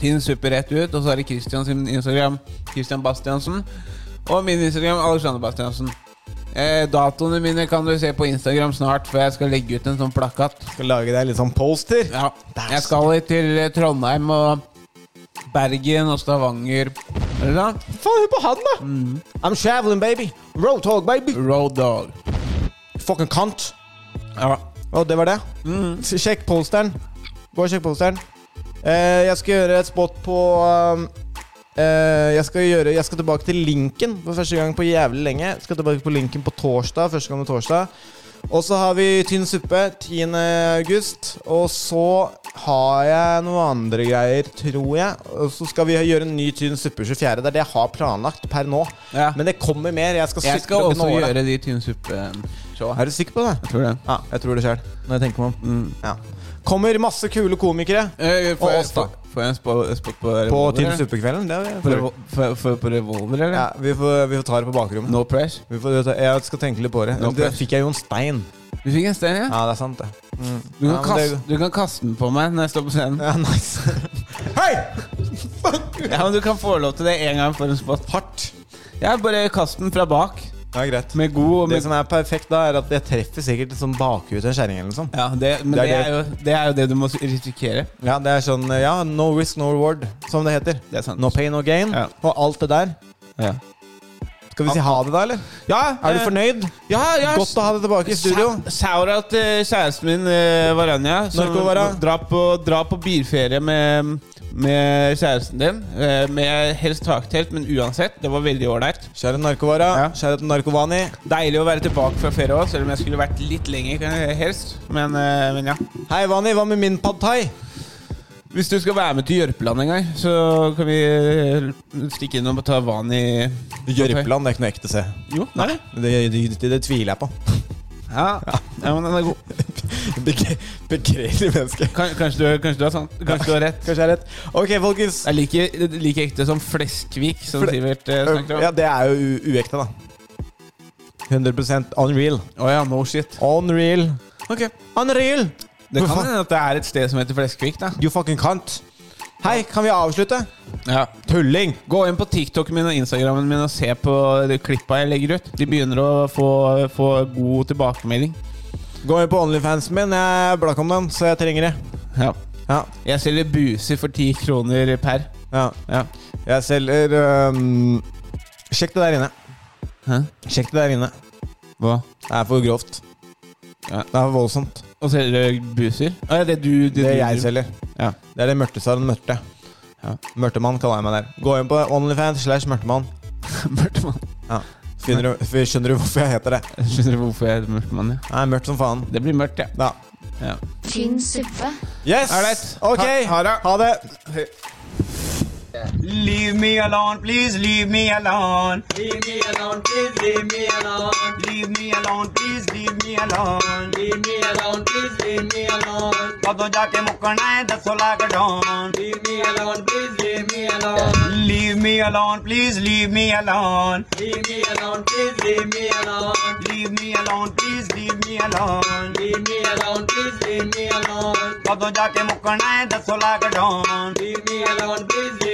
Speaker 2: Tynn suppe rett ut. Og så er det Christian sin Instagram. Christian Bastiansen. Og min Instagram, Alexander Bastiansen. Eh, datoene mine kan du se på Instagram snart, for jeg skal legge ut en sånn plakat.
Speaker 3: Skal lage deg litt sånn poster?
Speaker 2: Ja. Jeg skal til eh, Trondheim og Bergen og Stavanger. Eller da?
Speaker 3: Faen, hør på han, da! Mm. I'm traveling, baby. Road dog, baby.
Speaker 2: Road dog.
Speaker 3: Fucking cunt.
Speaker 2: Ja.
Speaker 3: Og det var det.
Speaker 2: Mm.
Speaker 3: S- Sjekk posteren. Gå og sjekk posteren. Eh, jeg skal gjøre et spot på um, eh, jeg, skal gjøre, jeg skal tilbake til Linken for første gang på jævlig lenge. Jeg skal tilbake på Linken på torsdag. Første gang på torsdag. Og så har vi Tynn suppe 10. august. Og så har jeg noen andre greier, tror jeg. Og så skal vi gjøre en ny Tynn suppe 24. Det er det jeg har planlagt per nå. Men det kommer mer. Jeg skal,
Speaker 2: Jeg
Speaker 3: sitte
Speaker 2: skal
Speaker 3: og
Speaker 2: også
Speaker 3: gnåle.
Speaker 2: gjøre de tynn suppe-showa.
Speaker 3: Er du sikker på det?
Speaker 2: Jeg tror det.
Speaker 3: Ja, jeg tror det sjøl. Når jeg tenker meg om. Ja. Kommer masse kule komikere.
Speaker 2: Eh, Får
Speaker 3: Og
Speaker 2: jeg,
Speaker 3: oss, da.
Speaker 2: får- får jeg en spo- spot på revolver?
Speaker 3: På Tynn
Speaker 2: eller?
Speaker 3: suppe-kvelden. Det er-
Speaker 2: På revo- får- får- På revolver, eller?
Speaker 3: Ja, vi får, vi får ta det på bakrommet.
Speaker 2: No press.
Speaker 3: Vi får, jeg skal tenke litt på det.
Speaker 2: No
Speaker 3: det
Speaker 2: press.
Speaker 3: fikk jeg jo en stein.
Speaker 2: Du fikk en stein, ja?
Speaker 3: Ja, det er sant, det. Mm.
Speaker 2: Du kan,
Speaker 3: Ja, men
Speaker 2: kaste,
Speaker 3: det-
Speaker 2: du kan kaste den på meg når jeg står på scenen.
Speaker 3: Ja, nice. Hei!
Speaker 2: Ja, men Du kan få lov til det en gang for en spot.
Speaker 3: Hardt.
Speaker 2: Ja, bare kast den fra bak.
Speaker 3: Ja, greit.
Speaker 2: Med god og
Speaker 3: Det
Speaker 2: med sånn-
Speaker 3: som er perfekt, da, er at jeg treffer sikkert sånn bakhud til en kjerring. eller noe sånt.
Speaker 2: Ja, det, men
Speaker 3: Det
Speaker 2: det
Speaker 3: er
Speaker 2: er, jo, det er jo det du må risikere.
Speaker 3: Ja, det er sånn Ja, no risk, no reward, som det heter.
Speaker 2: Det er sant.
Speaker 3: No pain, no gain.
Speaker 2: Ja.
Speaker 3: Og alt det der.
Speaker 2: Ja.
Speaker 3: Skal vi si ha det, da, eller?
Speaker 2: Ja,
Speaker 3: Er du
Speaker 2: eh,
Speaker 3: fornøyd?
Speaker 2: Ja, ja.
Speaker 3: Godt å ha deg tilbake i studio.
Speaker 2: Sa- Saura til kjæresten min, eh, Varanya, som
Speaker 3: Narko-Vara.
Speaker 2: drar på, drar på bilferie med, med kjæresten din. eh, Med helst taktelt, men uansett. Det var veldig ålreit.
Speaker 3: Kjære narkovara, kjære narkovani.
Speaker 2: Deilig å være tilbake fra ferie òg, selv om jeg skulle vært litt lenger kan- helst. Men, eh, men ja.
Speaker 3: Hei, Vani, hva med min pad thai?
Speaker 2: Hvis du skal være med til Jørpeland en gang, så kan vi eh, stikke innom og ta vann i
Speaker 3: Jørpeland det er ikke noe ekte, se.
Speaker 2: Jo, nei.
Speaker 3: Det, det, det, det tviler jeg på.
Speaker 2: Ja. ja, men den er god.
Speaker 3: Begre- Begredelig menneske.
Speaker 2: Kan- Kanskje du, kanskje du har sant? Kanskje du har rett?
Speaker 3: Kanskje jeg har rett. Ok, folkens.
Speaker 2: Det er like, like ekte som Fleskvik, som
Speaker 3: Fle-
Speaker 2: Sivert eh, snakket om.
Speaker 3: Ja, det er jo u- uekte, da. 100 unreal.
Speaker 2: Å ja, no shit.
Speaker 3: Unreal.
Speaker 2: Ok.
Speaker 3: Unreal!
Speaker 2: Det kan
Speaker 3: Hvorfor?
Speaker 2: hende at det er et sted som heter Fleskvik, da.
Speaker 3: You fucking cunt. Hei, kan vi avslutte?
Speaker 2: Ja.
Speaker 3: Tulling!
Speaker 2: Gå inn på TikToken min og Instagrammen min og se på de klippa jeg legger ut. De begynner å få, få god tilbakemelding.
Speaker 3: Gå inn på Onlyfansen min. Jeg er blakk om den, så jeg trenger det.
Speaker 2: Ja.
Speaker 3: Ja.
Speaker 2: Jeg selger buser for ti kroner per.
Speaker 3: ja.
Speaker 2: Ja.
Speaker 3: Jeg selger øhm, Sjekk det der inne.
Speaker 2: Hæ?
Speaker 3: Sjekk det der inne.
Speaker 2: Hva?
Speaker 3: Det er for grovt.
Speaker 2: Ja.
Speaker 3: Det er for voldsomt.
Speaker 2: Å selge buser? Å, ja, det du
Speaker 3: Det,
Speaker 2: du-
Speaker 3: jeg selger.
Speaker 2: Ja.
Speaker 3: Det er det Mørtesalen Mørte.
Speaker 2: Ja.
Speaker 3: Mørtemann kaller jeg meg der. Gå inn på Onlyfans slash Mørtemann.
Speaker 2: Mørtemann.
Speaker 3: Ja. Finner du, f- skjønner du hvorfor jeg heter det?
Speaker 2: Skjønner du hvorfor jeg heter Mørtemann? Ja.
Speaker 3: Det er mørkt som faen.
Speaker 2: Det blir mørkt, ja.
Speaker 3: Ja.
Speaker 2: ja.
Speaker 1: Tynn suppe.
Speaker 3: Yes!
Speaker 2: Alright.
Speaker 3: Ok,
Speaker 2: Ha- ha det.
Speaker 3: Ha det.
Speaker 13: Leave me alone, please leave me alone. Leave me alone, please leave me alone. Leave me alone, please leave me alone. Leave me alone, please leave me alone. ਕਦੋਂ ਜਾ ਕੇ ਮੁੱਕਣਾ ਹੈ ਦੱਸੋ lockdown leave me alone please leave me alone leave me alone please leave me alone leave me alone please leave me alone leave me alone please leave me alone leave me alone please leave me alone ਕਦੋਂ ਜਾ ਕੇ ਮੁੱਕਣਾ ਹੈ ਦੱਸੋ lockdown leave me alone please